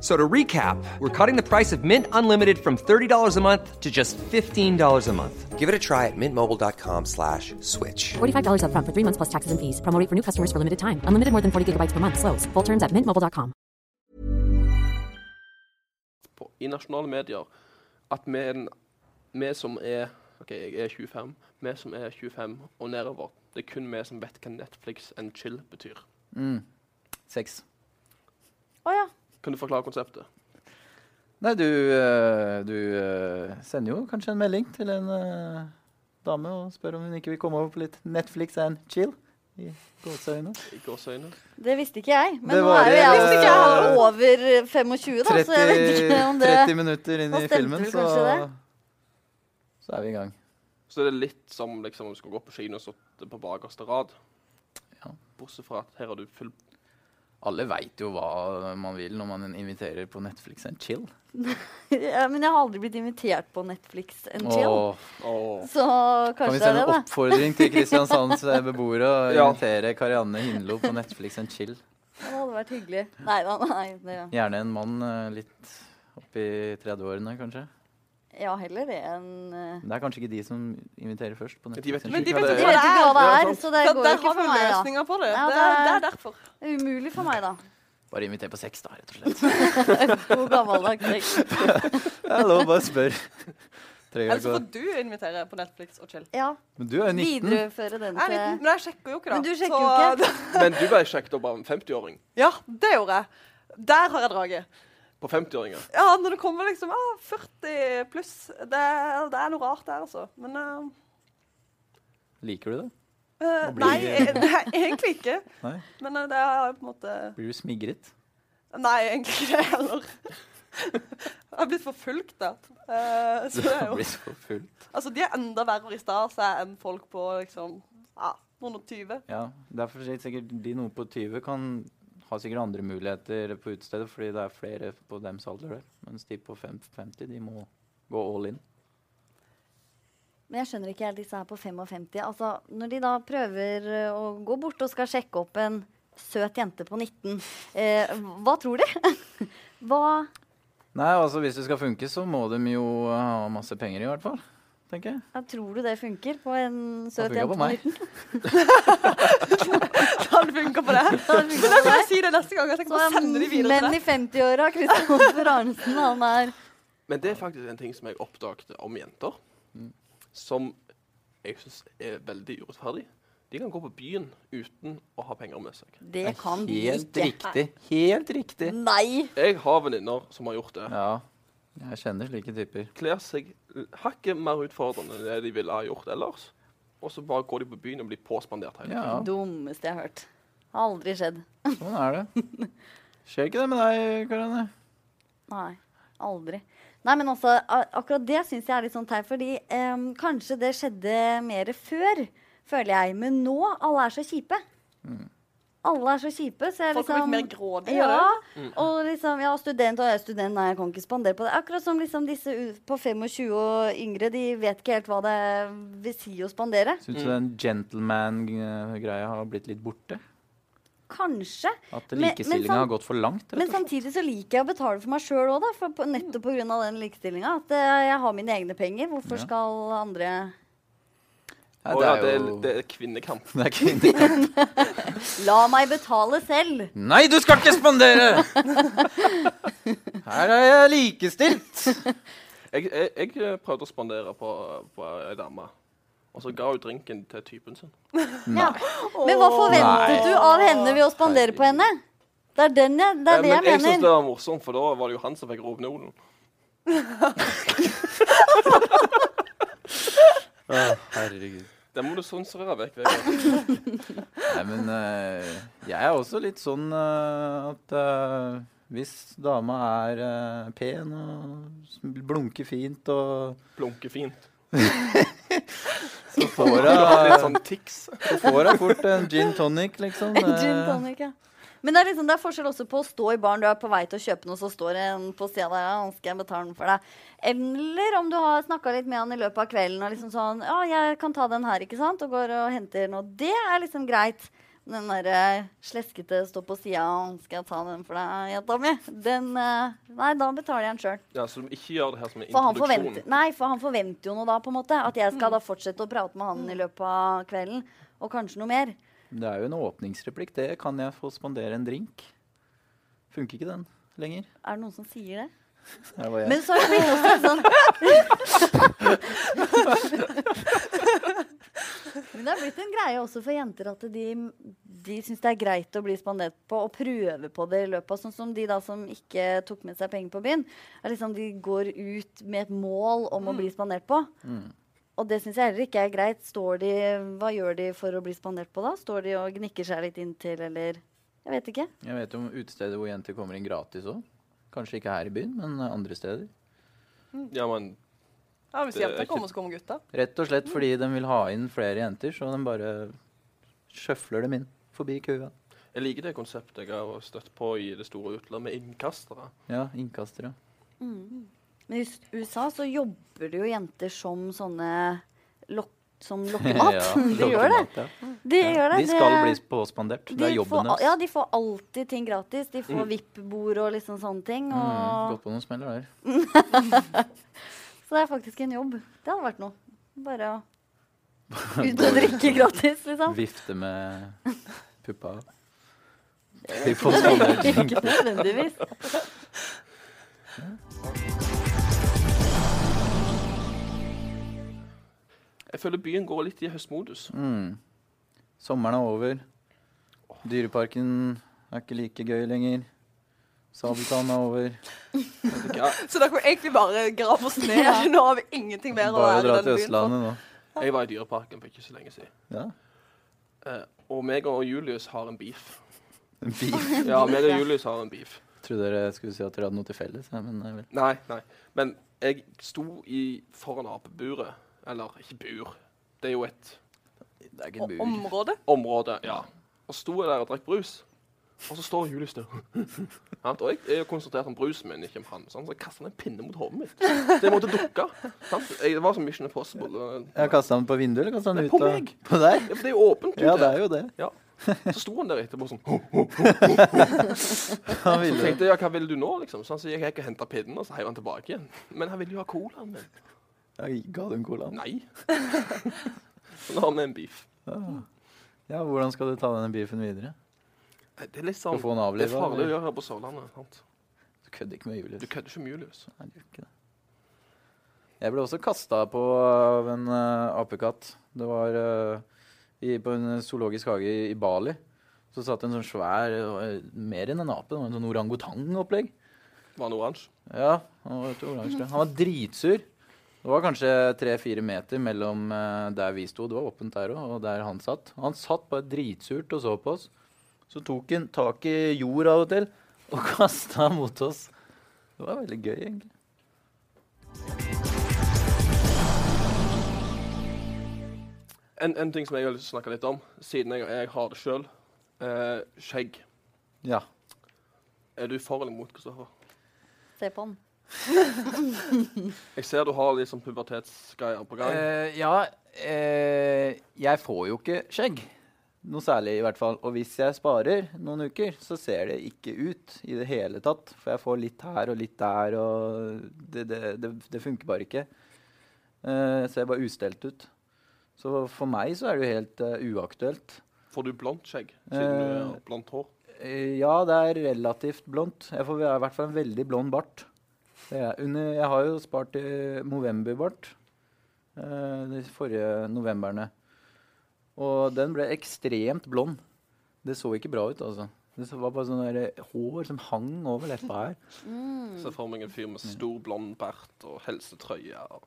S5: So to recap, we're cutting the price of Mint Unlimited from $30 a month to just $15 a month. Give it a try at mintmobile.com slash switch.
S6: $45 up front for three months plus taxes and fees. Promo rate for new customers for limited time. Unlimited more than 40 gigabytes per month. Slows. Full terms at mintmobile.com.
S1: på, i nasjonale medier at vi, er den- vi som er OK, jeg er 25. Vi som er 25 og nedover. Det er kun vi som vet hva Netflix and chill betyr.
S2: Mm. Sex.
S3: Å ja.
S1: Kan du forklare konseptet?
S2: Nei, du, eh, du eh, sender jo kanskje en melding til en eh, dame og spør om hun ikke vil komme over på litt Netflix and chill. I gåseøyne.
S1: I gåseøyne.
S3: Det visste ikke jeg. Men
S2: Det
S3: nå
S2: var,
S3: er jo jeg
S2: eh,
S3: også over eh, 25, da, så jeg vet ikke om det
S2: 30 minutter inn
S3: Da
S2: i
S3: stemte
S2: filmen,
S3: vel
S2: så,
S3: kanskje
S2: så er vi i gang.
S1: Så det er litt som liksom, om du skulle gå på kino og sitte på bakerste rad.
S2: Ja.
S1: Bortsett fra at her har du full
S2: Alle veit jo hva man vil når man inviterer på Netflix and chill.
S3: Ja, Men jeg har aldri blitt invitert på Netflix and chill.
S2: Åh,
S1: Åh.
S3: Så
S2: kan vi
S3: kanskje det er
S2: sende
S3: det,
S2: en
S3: da.
S2: oppfordring til Kristiansands eh, beboere og
S1: Ja.
S2: invitere Karianne Hindlo på Netflix and chill?
S3: Det hadde vært hyggelig. Nei da, nei. Det,
S2: Gjerne en mann eh, litt opp i 30-årene, kanskje.
S3: ja, heller det enn eh,
S2: Men Det er kanskje ikke de som inviterer først. på
S1: De vet
S2: Netflix.
S1: ikke
S4: Men de
S1: hva
S4: vet
S1: det
S4: ikke
S3: De
S1: er.
S3: vet ikke hva det
S1: Ja,
S3: er,
S1: sant.
S3: så det
S4: Ja,
S3: går
S4: der
S3: jo ikke
S4: har vi
S3: for meg, da.
S4: løsninger på det.
S3: Ja,
S4: det, er,
S3: det
S4: det
S3: er-
S4: er derfor.
S3: Det er Umulig for meg, da.
S2: Bare inviter på sex, da, rett og slett.
S3: God gammeldags sex.
S2: Det er lov, bare spør. Trenger ikke
S4: Ellers får
S2: å-
S4: Altså, du invitere på Netflix og chill.
S3: Ja,
S2: Men du er jo 19.
S3: videreføre den
S4: Jeg er liten,
S3: til
S4: men jeg sjekker jo ikke, da.
S3: Men du sjekker jo ikke.
S1: Men du ble sjekket opp av en 50-åring.
S4: Ja, det gjorde jeg. Der har jeg draget.
S1: På 50-åringer.
S4: Ja, når det kommer liksom ah, 40 pluss det, det er noe rart der, altså. Men
S2: Liker du det?
S4: eh, eh,
S2: Nå blir
S4: Nei,
S2: det-
S4: eh, nei, egentlig ikke.
S2: Nei?
S4: Men eh, det har jeg på en måte
S2: Blir du smigret?
S4: Nei, egentlig ikke det heller. Jeg har blitt forfulgt, da. Eh, så
S2: Du
S4: det er jo
S2: blir så full.
S4: Altså, de er enda verre i stas enn folk på liksom, ja, 120.
S2: Ja, Derfor sier sikkert de noe på 20 kan ha sikkert andre muligheter på utestedet, fordi det er flere på dems alder der. Mens de på fem- 50, de må gå all in.
S3: Men jeg skjønner ikke helt disse her på 55. Altså, når de da prøver eh, å gå bort og skal sjekke opp en søt jente på 19, eh, hva tror de? hva
S2: Nei, altså hvis det skal funke, så må de jo ha masse penger i hvert fall. Tenker jeg.
S3: ja, tror du det funker på en
S2: Det
S3: søt
S2: funka
S3: jente
S2: på
S3: på
S2: meg.
S3: 19?
S4: Kan det funke på det?
S3: Kan det funke
S4: Men da
S3: på
S4: kan jeg
S3: deg?
S4: si det neste gang. Jeg tenker
S3: Så
S4: bare
S3: er
S4: sende de videre til
S3: menn
S4: deg.
S3: i 50-åra, Kristoffer Arnesen, han er
S1: Men det er faktisk en ting som jeg oppdaget om jenter, som jeg syns er veldig urettferdig. De kan gå på byen uten å ha penger med seg.
S3: Det kan de
S2: Helt
S3: ikke.
S2: riktig. Helt riktig.
S3: Nei!
S1: Jeg har venninner som har gjort det.
S2: Ja. Jeg kjenner slike typer.
S1: Kler seg l- hakket mer utfordrende enn det de ville ha gjort ellers. Og så bare går de på byen og blir påspandert hele tiden.
S2: Ja,
S3: Dummeste jeg har hørt. Har aldri skjedd.
S2: sånn er det. Skjer ikke det med deg, Karianne?
S3: Nei, aldri. Nei, men altså, a- akkurat det syns jeg er litt sånn teit, fordi em, kanskje det skjedde mer før, føler jeg. Men nå, alle er så kjipe. Alle er så kjipe, så jeg
S4: Mm. Folk har
S3: liksom
S4: blitt mer grådige.
S3: ja, og liksom, ja, student og jeg er student, nei, jeg kan ikke spandere på det. Akkurat som liksom disse u- på 25 og yngre, de vet ikke helt hva det vil si å spandere.
S2: Syns du den gentleman-greia har blitt litt borte?
S3: Kanskje.
S2: At
S3: Men- men
S2: likestillinga
S3: sånn-
S2: har gått for langt? rett og
S3: Men
S2: slett?
S3: samtidig så liker jeg å betale for meg sjøl òg, da. For på, nettopp pga. den likestillinga. At eh, jeg har mine egne penger.
S2: Ja.
S3: Hvorfor skal andre
S2: Nei,
S1: Og ja, det, er,
S2: jo-
S1: det er kvinnekamp.
S2: det er kvinner.
S3: La meg betale selv!
S2: Nei, du skal ikke spandere! Her er jeg likestilt!
S1: Jeg, jeg, jeg eh, prøvde å spandere på, på ei dame, og så ga hun drinken til typen sin.
S3: Ja. Men hva
S2: Nei.
S3: forventet du av henne ved å spandere på henne? Det er, den jeg, det,
S1: Eh,
S3: er det
S1: Men
S3: jeg
S1: jeg syns det
S3: mener.
S1: var morsomt, for da var det jo han som fikk rovnolen.
S2: herregud.
S1: Den må du sensurere vekk. Vegard.
S2: Nei, men eh, jeg er også litt sånn eh, at eh, hvis dama er eh, pen og sm- blunker fint og
S1: Blunke fint.
S2: Så får
S1: Du har litt
S2: hun
S1: sånn tics.
S2: fort en gin tonic, liksom.
S3: Gin
S2: Eh,
S3: tonic, ja. Men det er, liksom, det er forskjell også på å stå i baren, du er på vei til å kjøpe noe, så står det en på sida der, ja, nå skal jeg betale den for deg. Eller om du har snakka litt med han i løpet av kvelden og liksom sånn Ja, jeg kan ta den her, ikke sant? Og går og henter noe. Det er liksom greit. Den derre sleskete stå på sida, skal jeg ta den for deg, jenta mi? Den eh, Nei, da betaler jeg den sjøl.
S1: Ja, så du ikke gjør det her som en
S3: For han,
S1: introduksjon.
S3: forventer, nei, for han forventer jo noe da, på en måte. At jeg skal da fortsette å prate med han i løpet av kvelden. Og kanskje noe mer.
S2: Det er jo en åpningsreplikk. Det kan jeg få spandere en drink. Funker ikke den lenger.
S3: Er det noen som sier det?
S2: Det var jeg.
S3: Men så er det blitt også litt sånn sånn- Men det er blitt en greie også for jenter at de, de syns det er greit å bli spandert på og prøve på det i løpet av Sånn som de da som ikke tok med seg penger på byen. Er liksom de går ut med et mål om å bli
S2: Mm.
S3: spandert på. Og det syns jeg heller ikke er greit. Står de, hva gjør de for å bli spandert på da? Står de og gnikker seg litt inntil, eller Jeg vet ikke.
S2: Jeg vet om utesteder hvor jenter kommer inn gratis òg. Kanskje ikke her i byen, men andre steder.
S1: Ja, men
S4: Ja, hvis
S1: Det er
S4: jenter
S1: ikke-
S4: kommer, så kommer gutta.
S2: Rett og slett fordi de vil ha inn flere jenter, så de bare sjøfler dem inn forbi køa.
S1: jeg liker det konseptet jeg har støtt på i det store utlandet, med innkastere.
S2: Ja, innkastere.
S3: Men i s- USA så jobber det jo jenter som sånne lok som lokkemat. de gjør det.
S2: lokkemat, ja.
S3: De
S2: Ja,
S3: gjør det.
S2: De skal
S3: Det-
S2: bli påspandert. Det er
S3: de får,
S2: jobben
S3: al-
S2: deres.
S3: ja, de får alltid ting gratis. De får VIP-bord og liksom sånne ting.
S2: Mm,
S3: Og,
S2: Gått på noen smeller der.
S3: Så det er faktisk en jobb. Det hadde vært noe. Bare å ut og drikke gratis, liksom.
S2: Vifte med puppa. De får spandert drink.
S3: Ikke nødvendigvis.
S1: Jeg føler byen går litt i høstmodus.
S2: Mm. Sommeren er over. Dyreparken er ikke like gøy lenger. Sabeltann er over.
S1: Ja,
S4: Så dere må egentlig bare grave oss ned.
S3: Ja.
S4: Nå har vi ingenting mer å
S2: Bare å dra
S4: være i
S2: til
S4: den byen. for.
S2: Østlandet nå.
S1: jeg var i Dyreparken for ikke så lenge siden.
S2: Ja.
S1: Eh, og meg og Julius har en beef.
S2: En bil.
S1: Ja, meg og Julius har en beef.
S2: Trodde dere skulle si at dere hadde noe til felles. Ja, men nei vel.
S1: Nei, nei. Men jeg sto i foran apeburet. Eller ikke bur. Det er jo et
S2: Det er ikke
S4: O-
S2: en bug.
S4: Området.
S1: området. ja. Og sto jeg der og drakk brus. Og så står Julius der. Sant? og jeg er jo konsentrert om brusen min, ikke om han. sant? Så jeg kasta en pinne mot hodet mitt. Så jeg måtte dukke. sant? Jeg, det var som Mission Impossible.
S2: Jeg Kasta den på vinduet, eller kasta den
S1: Nei,
S2: ut?
S1: på
S2: av-
S1: meg.
S2: På deg?
S1: Ja, for det er jo åpent.
S2: Ja, det er jo det.
S1: Ja. Så sto han der etterpå sånn.
S2: Han
S1: Så
S2: ville.
S1: tenkte jeg, ja, hva vil du nå, liksom? Så han sier, jeg kan hente pinnen, og så heiv han tilbake igjen. Men han ville jo ha colaen min.
S2: Jeg ga du en cola?
S1: Nei. Så nå har vi en beef.
S2: Ja, hvordan skal du ta denne beefen videre?
S1: Nei, Det er litt
S2: Skal
S1: sånn,
S2: få den
S1: det er
S2: avliva?
S1: farlig å
S2: eller?
S1: gjøre her på Sørlandet. sant?
S2: Du kødder ikke med Julius.
S1: Du kødder ikke med Julius.
S2: Nei, du gjør ikke det. Jeg ble også kasta på av en eh, apekatt. Det var eh, i, på en zoologisk hage i, i Bali. Så satt en sånn svær det var Mer enn en ape. Det var en sånn orangutang-opplegg.
S1: Var han oransje?
S2: Ja, Han var, et oransje. han var dritsur. Det var kanskje tre-fire meter mellom eh, der vi sto, det var åpent der òg, og der han satt. Han satt bare dritsurt og så på oss. Så tok han tak i jord av og til og kasta mot oss. Det var veldig gøy, egentlig.
S1: En, en ting som jeg har lyst til å snakke litt om, siden jeg, jeg har det sjøl. Eh, skjegg.
S2: Ja.
S1: Er du for eller mot, Kristoffer?
S3: Se på den.
S1: Jeg ser du har liksom pubertetsgreier på gang.
S2: Eh, ja, eh, jeg får jo ikke skjegg. Noe særlig, i hvert fall. Og hvis jeg sparer noen uker, så ser det ikke ut i det hele tatt. For jeg får litt her og litt der, og det, det, det, det funker bare ikke. Eh, jeg ser bare ustelt ut. Så for meg så er det jo helt eh, uaktuelt.
S1: Får du blondt skjegg siden du
S2: Eh,
S1: har blondt hår?
S2: Eh, ja, det er relativt blondt. Jeg får i hvert fall en veldig blond bart. Det er under, jeg har jo spart til Movember-bart eh, de forrige novemberne. Og den ble ekstremt blond. Det så ikke bra ut, altså. Det så- var bare sånn der hår som hang over leppa her. Mm.
S1: Ser for meg en fyr med stor blond bart og helsetrøye. og-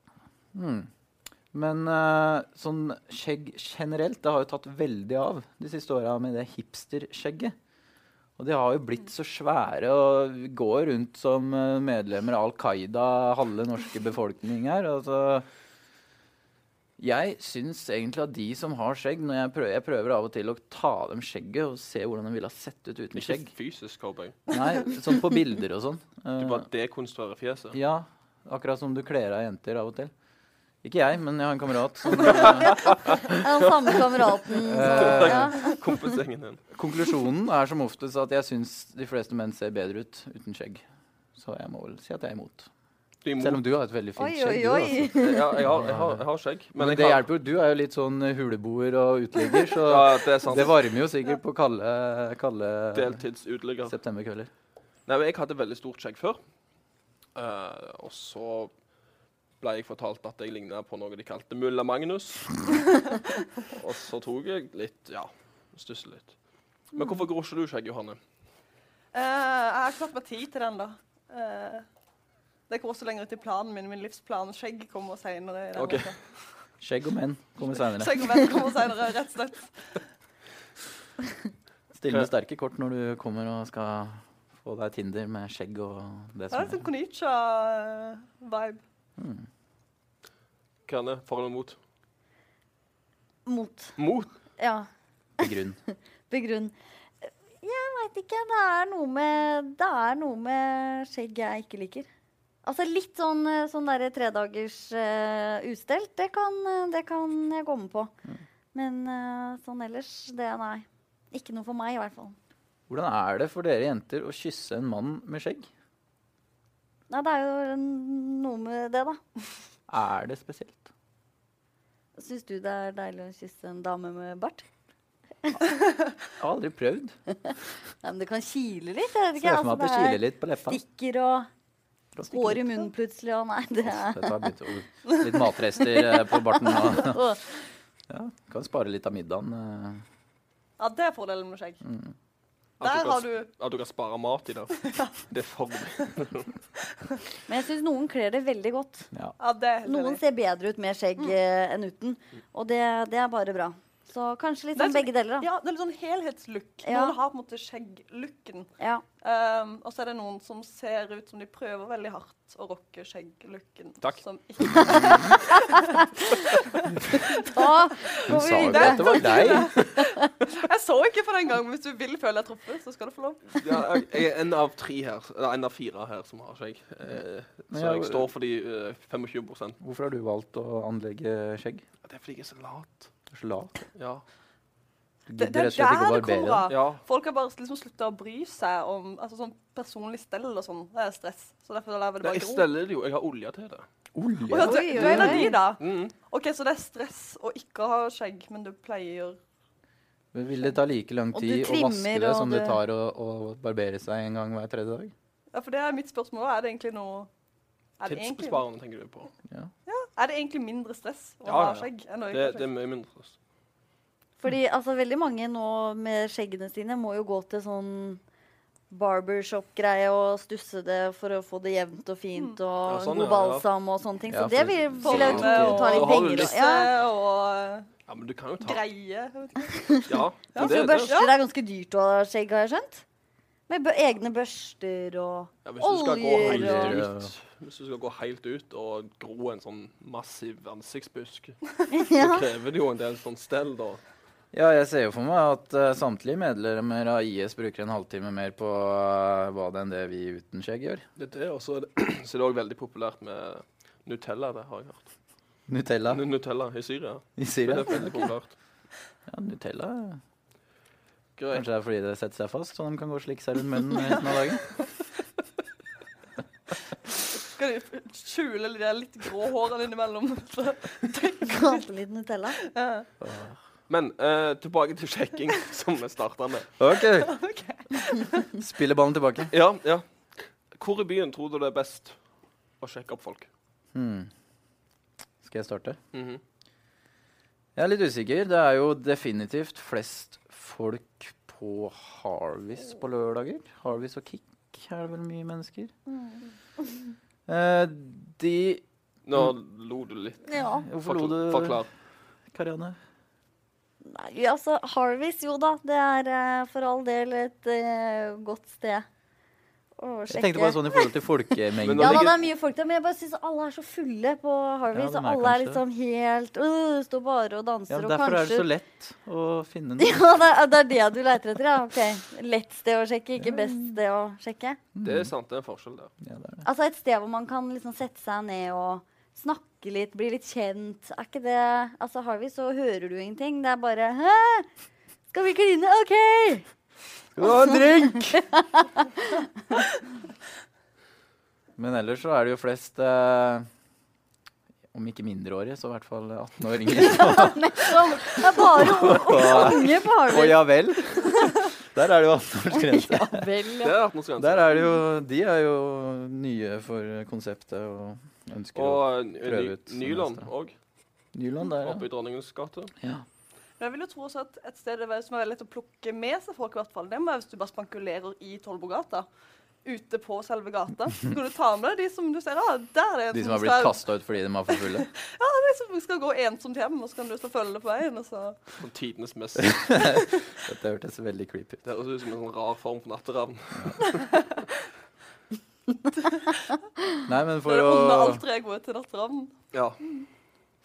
S2: Men eh, sånn skjegg generelt, det har jo tatt veldig av de siste åra med det hipsterskjegget. Og de har jo blitt så svære og går rundt som eh, medlemmer av Al Qaida, halve norske befolkning her. Altså, jeg syns egentlig at de som har skjegg når jeg prøver, jeg prøver av og til å ta av dem skjegget og se hvordan de ville ha sett ut uten
S1: Ikke
S2: skjegg.
S1: fysisk, cowboy.
S2: Nei, sånn på bilder og sånn.
S1: Du
S2: Eh,
S1: bare dekonstruerer fjeset.
S2: ja, akkurat som du kler av jenter av og til. Ikke jeg, men jeg har en kamerat som
S3: Den samme kameraten.
S2: Eh,
S3: som- ja.
S1: Kompisgjengen din.
S2: Konklusjonen er som oftest at jeg syns de fleste menn ser bedre ut uten skjegg. Så jeg må vel si at jeg er imot.
S1: Du er imot.
S2: Selv om du har et veldig fint
S3: Oi,
S2: skjegg.
S3: oi,
S2: du, altså.
S3: oi.
S1: Ja, jeg har, jeg har, jeg har skjegg. Men,
S2: Men
S1: jeg
S2: det
S1: har,
S2: hjelper jo. Du er jo litt sånn huleboer og uteligger, så
S1: Ja, det er sant.
S2: det varmer jo sikkert på kalde, kalde
S1: Deltidsuteligger.
S2: septemberkvelder.
S1: Nei, men jeg hadde veldig stort skjegg før. Eh, og så ble jeg fortalt at jeg ligna på noe de kalte mulla Magnus. og så tok jeg litt Ja, stusset litt. Men hvorfor gror ikke du skjegg, Johanne?
S4: Eh, jeg har ikke tatt meg tid til den, da. Eh, det går også lenger ut i planen min. Min livsplan skjegg kommer seinere.
S1: Ok.
S2: Skjegg og menn kommer seinere.
S4: Skjegg og menn kommer senere, rett og slett.
S2: Still med sterke kort når du kommer og skal få deg Tinder med skjegg og det som
S4: Det er eh,
S2: Mm,
S4: litt sånn Konnicha-vibe.
S1: Kerne, for eller mot?
S2: altså.
S3: Mot.
S1: Mot?
S3: Ja.
S2: er grunn.
S3: Begrunn. Jeg veit ikke. Det er noe med Det er noe med skjegg jeg ikke liker. Altså litt sånn, eh, sånn derre tredagers uh, ustelt, det kan, eh, det kan jeg gå med på.
S2: Mm.
S3: Men eh, sånn ellers, det nei. Ikke noe for meg, i hvert fall.
S2: Hvordan er det for dere jenter å kysse en mann med skjegg?
S3: Nei, det er jo en- noe med det, da.
S2: Er det spesielt?
S3: Syns du det er deilig å kysse en dame med bart?
S2: Jeg har aldri prøvd.
S3: Nei, men det kan kile litt. Jeg vet
S2: Ser
S3: ikke. altså,
S2: for meg at det kiler litt på leppa.
S3: stikker og
S2: Stikker
S3: hår
S2: litt.
S3: i munnen plutselig, og nei, det
S2: Åh,
S3: er
S2: Dette har begynt å Litt matrester eh, på barten. nå. ja, kan spare litt av middagen. eh.
S4: Ja, det er fordelen med skjegg.
S1: At
S4: Der
S1: du,
S4: har
S1: kan,
S4: du
S1: at du kan spare mat i det. Det er for meg.
S3: Men jeg syns noen kler det veldig godt.
S2: Ja.
S4: Ja, det er helt
S3: Noen
S4: enig.
S3: ser bedre ut med skjegg eh, enn uten, og det, det er bare bra. Så kanskje litt
S4: Det er
S3: sånn
S4: sånn-
S3: begge deler, da.
S4: Ja, det er litt sånn helhetslook.
S3: Ja.
S4: Noen har på en måte skjegglooken.
S3: Ja.
S4: Um, og så er det noen som ser ut som de prøver veldig hardt å rocke skjegglooken.
S1: Takk.
S4: Som ikke
S3: Da
S2: Hun
S3: går
S2: sa
S3: vi
S2: jo
S3: videre.
S2: at det var deg.
S4: Jeg så ikke på den gangen. Hvis du vil føle deg truffet, så skal du få lov.
S1: Ja, jeg jeg er en av tre her, eller en av fire her som har skjegg. Eh,
S2: Men
S1: så
S2: jeg-
S1: jeg står for de eh, 25 Det
S2: Hvorfor har du valgt å anlegge skjegg?
S1: er fordi jeg er så lat.
S2: Du er så lat.
S1: Ja.
S2: Du
S4: Det,
S2: gidder
S4: det er
S2: rett og slett
S4: der
S2: ikke å
S4: det
S2: barbere
S4: kommer
S2: deg.
S4: av.
S1: ja.
S4: Folk har bare liksom slutta å bry seg om altså, sånn personlig stell og sånn. Det er stress. Så derfor lar vi det
S1: Nei,
S4: bare
S1: jeg
S4: gro.
S1: steller det jo. Jeg har olje til det.
S2: Olje.
S4: Å ja, du,
S3: Oi,
S4: du
S3: oi,
S4: er en av
S3: oi.
S4: de, da.
S1: Mm.
S4: OK, så det er stress å ikke ha skjegg, men du pleier
S2: Men Vil det ta like lang
S3: Og du
S2: tid å vaske
S3: trimmer,
S2: det
S3: og
S2: som det
S3: du-
S2: tar å, å barbere seg en gang hver tredje dag?
S4: Ja, for det er mitt spørsmål. Er det egentlig noe er det egentlig,
S1: Tidsbesparende tenker du på.
S2: Ja.
S4: er det egentlig mindre stress å
S1: Ja,
S4: ha
S1: ja, ja.
S4: skjegg enn å
S1: Det,
S4: ikke ha
S1: det er
S4: skjegg?
S1: mye mindre.
S3: Fordi altså, veldig mange nå med skjeggene sine må jo gå til sånn barbershop-greie og stusse det for å få det jevnt og fint og
S1: Ja, sånn,
S3: god
S1: ja, ja.
S3: balsam og sånne ting. Så
S2: Ja,
S3: det
S2: for-
S3: vil,
S2: for-
S3: vil jeg jo tro
S4: og-
S3: tar
S1: Da
S3: litt
S1: har du
S3: penger.
S1: lyst-
S3: og- Ja.
S4: og
S1: Ja, men du kan jo ta
S4: greie. Jeg vet ikke.
S1: Ja.
S4: Ja,
S1: men det-
S3: Så
S1: det-
S3: Altså, børster det er ganske dyrt å ha skjegg, har jeg skjønt? Med bø- egne børster og
S1: Ja, hvis du skal gå
S3: Oljer
S1: helt
S2: og-
S1: ut Hvis du skal gå helt ut og gro en sånn massiv ansiktsbusk, så
S3: ja.
S1: krever det jo en del sånn stell, da.
S2: Ja, jeg ser jo for meg at eh, samtlige medlemmer av IS bruker en halvtime mer på eh, badet enn det vi uten skjegg gjør.
S1: Det er det, og så er det så er det òg veldig populært med Nutella, det har jeg hørt.
S2: Nutella
S1: Nu- Nutella i Syria.
S2: i
S1: Det
S2: Syria.
S1: er veldig populært.
S2: Ja, Nutella
S1: Greit.
S2: Kanskje det er fordi det setter seg fast, så de kan gå og slikke seg rundt munnen resten av dagen.
S4: Skal du f- skjule de der litt grå hårene innimellom? Så,
S3: Gråte litt Nutella.
S4: ja.
S1: Men eh, tilbake til sjekking, som vi starta med.
S2: OK. Spiller ballen tilbake.
S1: Ja, ja. Hvor i byen tror du det er best å sjekke opp folk?
S2: Hmm. Skal jeg starte?
S1: Mhm.
S2: Jeg er litt usikker. Det er jo definitivt flest folk på Harvis på lørdager. Harvis og Kick er det vel mye mennesker. Eh, de
S1: Nå lo du litt.
S3: Ja.
S2: Hvorfor lo
S1: Forklar.
S2: du,
S1: Forklar.
S2: Karianne?
S3: Nei, altså, Harvis, jo da. Det er eh, for all del et eh, godt sted å
S2: Jeg
S3: sjekke.
S2: tenkte bare sånn i forhold til
S1: Men
S2: folkemengden.
S1: da
S3: Ja da,
S1: ligger-
S3: det er mye folk der, men jeg bare syns alle er så fulle på Harvey.
S2: Ja, de
S3: så
S2: er
S3: alle er
S2: kanskje
S3: liksom helt øh, Står bare og danser
S2: Ja,
S3: og
S2: derfor
S3: kanskje
S2: er det så lett å finne noe.
S3: Ja, det er, det er det du leter etter, ja. Ok. Lett sted å sjekke, ikke best sted å sjekke.
S4: Mm.
S1: Det er sant, det er en forskjell der.
S2: Ja, det er det.
S3: Altså et sted hvor man kan liksom sette seg ned og snakke litt, bli litt kjent. Er ikke det Altså Harvey, så hører du ingenting. Det er bare Hæ? Skal vi kline? OK!
S2: Skal du ha en drink? Men ellers så er det jo flest eh, om ikke mindreårige, så i hvert fall 18-åringer.
S3: Nettopp. Det er bare
S2: Og-
S3: unge på
S2: Å
S3: Harvey.
S2: ja vel. Der er det jo 18-årsgrense.
S3: Vel,
S1: Det er 18-årsgrense.
S2: Der er det jo De er jo nye for konseptet og ønsker å
S1: Og eh, Ny
S2: prøve ut som
S1: Nyland
S2: neste.
S1: òg,
S2: Nyland der,
S1: oppe i Dronningens gate.
S2: ja. ja.
S4: Men jeg vil jo tro også at et sted det er- som er lett å plukke med seg folk, i hvert fall, det må være hvis du bare spankulerer i Tollbogata. Ute på selve gata. Så kan du ta med deg de som du ser. Ah, der er en
S2: De som har blitt
S4: skal,
S2: kasta ut fordi de var for fulle.
S4: de som skal gå ensomt hjem, og så kan du så følge det på veien. Og så.
S1: Sånn tidenes mest
S2: Dette hørtes veldig creepy ut.
S1: Det høres ut som en sånn rar form for natteravn.
S2: Nei, men
S4: det
S2: for
S4: er det onde
S2: å,
S4: alter egoet til natteravn.
S1: Ja.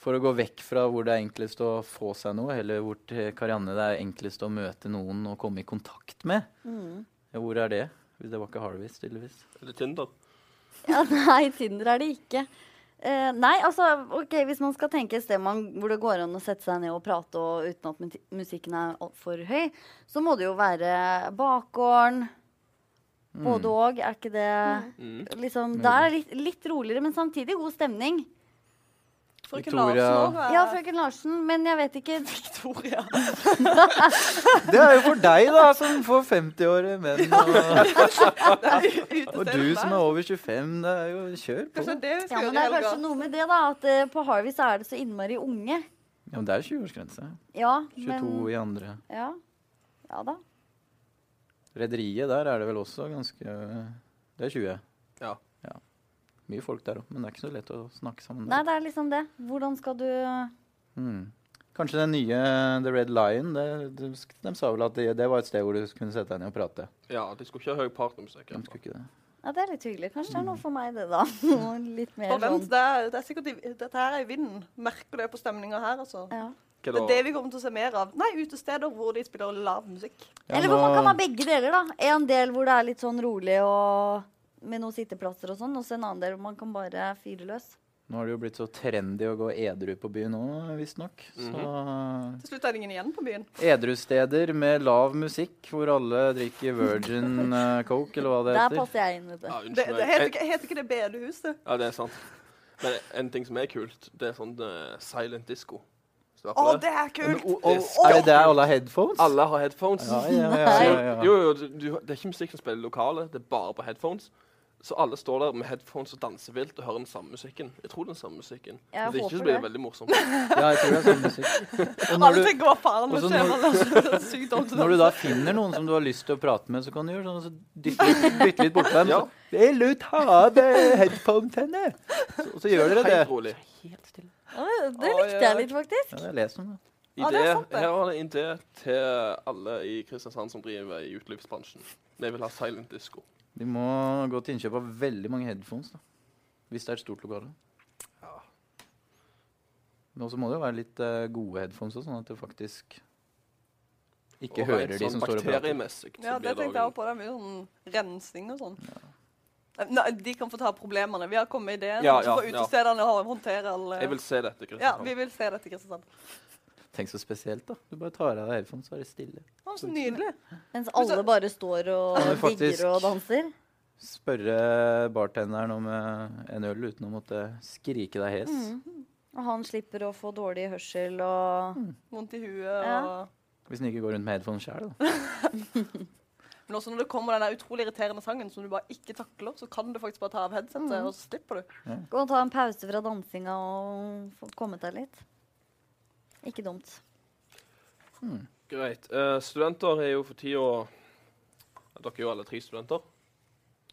S2: for å gå vekk fra hvor det er enklest å få seg noe, heller hvor til Karianne det er enklest å møte noen og komme i kontakt med. Ja, hvor er det? Det var ikke Harvis, tydeligvis.
S1: Eller Tinder.
S3: Ja, nei, Tinder er det ikke. Eh, nei, altså, ok, Hvis man skal tenke et sted man, hvor det går an å sette seg ned og prate og, uten at muti- musikken er alt for høy, så må det jo være bakgården. Både og, er ikke det liksom, Der er det litt, litt roligere, men samtidig god stemning.
S4: Frøken
S2: Victoria-
S4: Larsen òg.
S3: Ja, frøken Larsen, men jeg vet ikke
S4: Victoria.
S2: Det er jo for deg, da, som får 50-årige menn. Og, og du som er over 25. Det er jo kjør på.
S4: Kanskje det vi
S3: Ja,
S4: skal
S3: men
S4: gjøre
S3: Det
S4: i
S3: er kanskje
S4: helga.
S3: noe med det, da. At eh, på Harvey så er det så innmari unge.
S2: Ja, men det er 20-årsgrense.
S3: Ja,
S2: 22
S3: men
S2: i andre.
S3: Ja, ja da.
S2: Rederiet der er det vel også ganske Det er 20.
S1: Ja.
S2: Mye folk der òg, men det er ikke så lett å snakke sammen.
S3: Nei,
S2: Der.
S3: det er liksom det. Hvordan skal du
S2: Mm. Kanskje den nye The Red Lion det, de, de sa vel at det, det var et sted hvor du kunne sette deg ned og prate.
S1: ja, de skulle ikke ha høy partnermusikk.
S2: De skulle ikke det.
S3: Ja, det er litt hyggelig. Kanskje det er noe for meg, det, da. litt mer
S4: Og vent,
S3: sånn.
S4: det er, det er sikkert i, dette her er i vinden. Merker det på stemninga her, altså.
S3: Ja.
S1: Hva
S4: Det
S1: da?
S4: er det vi kommer til å se mer av. Nei, utesteder hvor de spiller lav musikk.
S2: Ja,
S3: Eller hvor man
S2: nå-
S3: kan ha begge deler, da. En del hvor det er litt sånn rolig og med noen sitteplasser og sånn, og så en annen del hvor man kan bare fyre løs.
S2: Nå har det jo blitt så trendy å gå edru på byen òg, visstnok.
S1: Mhm.
S2: Så eh,
S4: Til slutt er det ingen igjen på byen.
S2: edrusteder med lav musikk hvor alle drikker Virgin eh, Coke, eller hva det
S3: Der
S2: heter.
S3: passer jeg inn, vet du.
S1: Ja, unnskyld
S4: Det, det
S1: meg.
S4: heter, ikke, heter ikke det bedehuset?
S1: Ja, det er sant. Men en ting som er kult, det er sånn eh, silent disco. Hvis du har hørt
S4: Å,
S1: på
S4: det er
S1: Men,
S4: kult!
S1: å, å,
S4: Å,
S2: Er det der alle har headphones?
S1: Alle har headphones.
S2: Ja, ja, ja, ja, ja.
S1: Jo, jo, du, du, det er ikke musikk som spiller i lokalet, det er bare på headphones. Så alle står der med headphones og danser vilt og hører den samme musikken. Jeg tror den samme musikken.
S3: Jeg
S1: Hvis ikke
S3: håper
S1: så blir det
S3: det.
S1: veldig morsomt.
S2: ja, jeg tror det er sånn musikk. Og når
S4: Alle
S2: du,
S4: tenker hva faen
S2: Og så
S4: det skjer. alle er Sykt dumt.
S2: når du da finner noen som du har lyst til å prate med, så kan du gjøre sånn, så dytte litt, dytte litt bort på dem.
S1: Ja.
S2: så, Vil du ta av deg headphones henne? Så, så gjør dere det.
S1: Helt rolig.
S3: Å, Det
S4: Oi,
S3: likte jeg litt, faktisk.
S2: Ja, jeg leser om det.
S1: Idé,
S4: Ja, det er sant, det.
S1: her var det en idé til alle i Kristiansand som driver i utelivsbransjen. De vil ha silent disco.
S2: De må gå til innkjøp av veldig mange headphones, da. Hvis det er et stort lokale.
S1: Ja.
S2: Men også må det jo være litt eh, gode headphones, også, sånn at du faktisk ikke
S1: Og
S2: hører
S1: rent
S2: de
S1: sånn
S2: som står og prater.
S1: Bakteriemessig så
S4: Ja, det
S1: blir det
S4: tenkte jeg også
S1: også
S4: på. Det er mye sånn rensing og sånn. Nei, de kan få ta problemene. Vi har kommet med ideen.
S1: Ja,
S4: så
S1: ja,
S4: får utestedene ha- håndtere alle
S1: en- Jeg vil se dette,
S4: Ja,
S1: Kristiansand.
S4: vi vil se dette, Kristiansand.
S2: Tenk så spesielt, da. Du bare tar av deg headphones, så er det stille.
S4: Å, så nydelig.
S3: Mens alle bare står og
S2: Ja, men faktisk-
S3: digger og danser.
S2: Spørre bartenderen om eh, en øl uten å måtte skrike deg hes.
S3: Og han slipper å få dårlig hørsel og
S4: Vondt i huet
S3: Ja.
S4: og
S2: Hvis den ikke går rundt med headphones sjæl, da.
S4: Men også når det kommer den der utrolig irriterende sangen som du bare ikke takler, så kan du faktisk bare ta av headsetet, og så slipper du.
S3: Gå og ta en pause fra dansinga og få kommet deg litt. Ikke dumt.
S1: Greit. Eh, studenter er jo for tida Dere er jo alle tre studenter.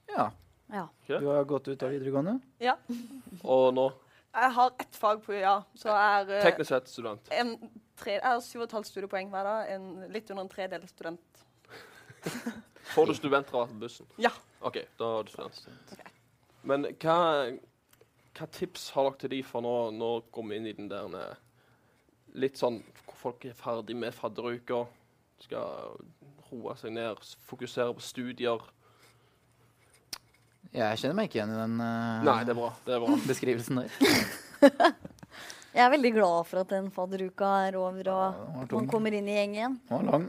S2: Ja.
S3: Ja.
S2: Du har gått ut av videregående?
S4: Ja.
S1: Og nå,
S4: Jeg har ett fag på UiA, så jeg er eh,
S1: teknisk sett, student.
S4: en tre, jeg har 7,5 studiepoeng hver dag. En, litt under en tredel student.
S1: Får du studentrabatt på bussen?
S4: Ja.
S1: OK, da er du student. Men hva, hva tips har dere til de for nå, nå kommer vi inn i den der eh, Litt sånn hvor folk er ferdig med fadderuka, skal roe seg ned, s- fokusere på studier.
S2: Jeg kjenner meg ikke igjen i den eh,
S1: Nei, det er bra. Det er
S3: Mm.
S1: bra.
S2: beskrivelsen der.
S3: Jeg er veldig glad for at den fadderuka er over,
S2: den
S3: og
S2: var
S3: man
S2: tung.
S3: kommer inn i gjeng igjen.
S2: Den var lang.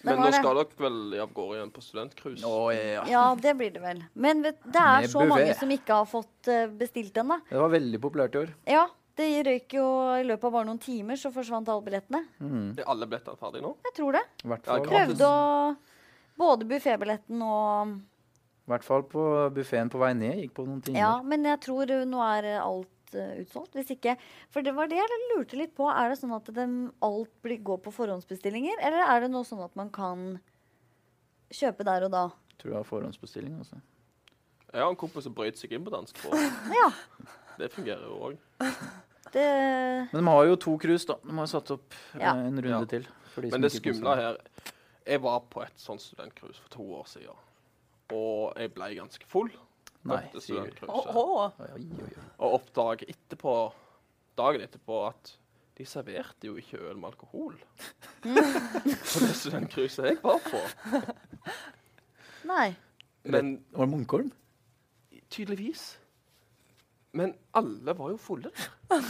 S3: Den
S1: Men
S3: var
S1: nå
S3: det.
S1: skal dere vel av gårde igjen på studentcruise?
S2: Å, ja.
S3: Ja, det blir det vel. Men vet, det er
S2: Med
S3: så mange
S2: buffet.
S3: som ikke har fått eh, bestilt ennå.
S2: Det var veldig populært i år.
S3: Ja, det røyk jo i løpet av bare noen timer, så forsvant alle billettene.
S1: Er alle billetter ferdige nå?
S3: Jeg tror det.
S2: Mm. I hvert
S1: Ja,
S2: fall,
S1: gratis.
S3: Prøvde å Både buffébilletten og
S2: i hvert fall på buffeen på vei ned gikk på noen timer.
S3: Ja, men jeg tror eh, nå er eh, alt eh, utsolgt. Hvis ikke For det var det jeg lurte litt på. Er det sånn at dem alt blir, går på forhåndsbestillinger, eller er det nå sånn at man kan kjøpe der og da?
S2: Tror jeg har forhåndsbestilling, altså.
S1: Jeg har en kompis som brøyt seg inn på dansk. Og
S3: Ja.
S1: det fungerer jo òg.
S3: Det
S2: Men de har jo to cruise, da. De har jo satt opp eh,
S3: Ja.
S2: en runde
S1: Ja.
S2: til. for de som
S1: Men det
S2: ikke koser
S1: skumle
S2: seg.
S1: her Jeg var på et sånt studentcruise for to år siden. Og jeg ble ganske full.
S2: Nei,
S1: etter
S2: sier du.
S4: Å,
S1: studentcruiset.
S4: å.
S2: Oi, oi, oi.
S1: Og oppdager etterpå, dagen etterpå, at de serverte jo ikke øl med alkohol. På det studentcruiset jeg var på.
S3: Nei.
S1: Men
S2: Var det Munkholm?
S1: tydeligvis. Men alle var jo fulle der.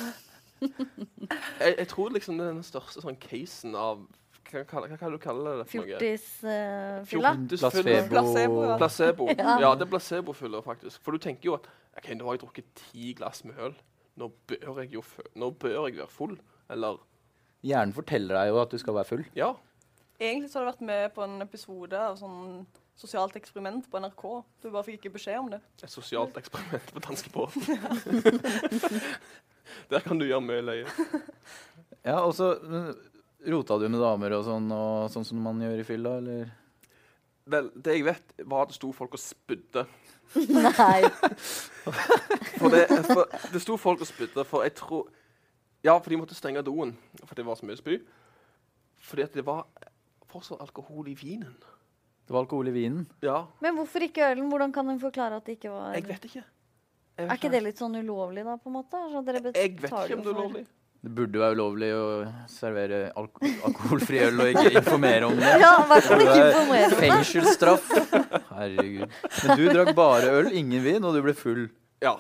S1: Jeg, jeg tror liksom det er den største sånn casen av Hva, hva, hva kan du kalle det? for noe? eh,
S3: Fjortisfylla.
S1: Fjortisfylla.
S4: Placebo, ja.
S1: Placebo.
S3: Ja.
S1: Ja, det er placebofyller, faktisk. For du tenker jo at OK, nå har jeg drukket ti glass med øl. Nå bør jeg jo fø nå bør jeg være full. Eller
S2: Hjernen forteller deg jo at du skal være full.
S1: Ja.
S4: Egentlig så har du vært med på en episode av sånn sosialt eksperiment på NRK. Du bare fikk ikke beskjed om det.
S1: Et sosialt eksperiment på danskebåten. Der kan du gjøre mye løye.
S2: Ja, og så men, rota du med damer og sånn, og sånn som man gjør i fylla, eller?
S1: Vel, det jeg vet, var at det sto folk og spydde.
S3: Nei.
S1: For det, for, det sto folk og spydde, for jeg tror Ja, for de måtte stenge doen fordi det var så mye spy. Fordi at det var fortsatt alkohol i vinen.
S2: Det var alkohol i vinen.
S1: Ja.
S3: Men hvorfor ikke ølen? Hvordan kan hun forklare at det ikke var
S1: Jeg vet ikke. Jeg
S3: Er ikke det litt sånn ulovlig, da, på en måte? Altså, dere
S1: Jeg vet
S3: betaler
S1: ikke om det er
S3: for-
S1: lovlig.
S2: Det burde være ulovlig å servere alko alkoholfri øl og ikke informere om det.
S3: Ja, i hvert fall
S2: Det
S3: ikke
S2: er
S3: informere om det.
S2: Fengselsstraff. Herregud. Men du drakk bare øl, ingen vin, og du ble full.
S1: Ja.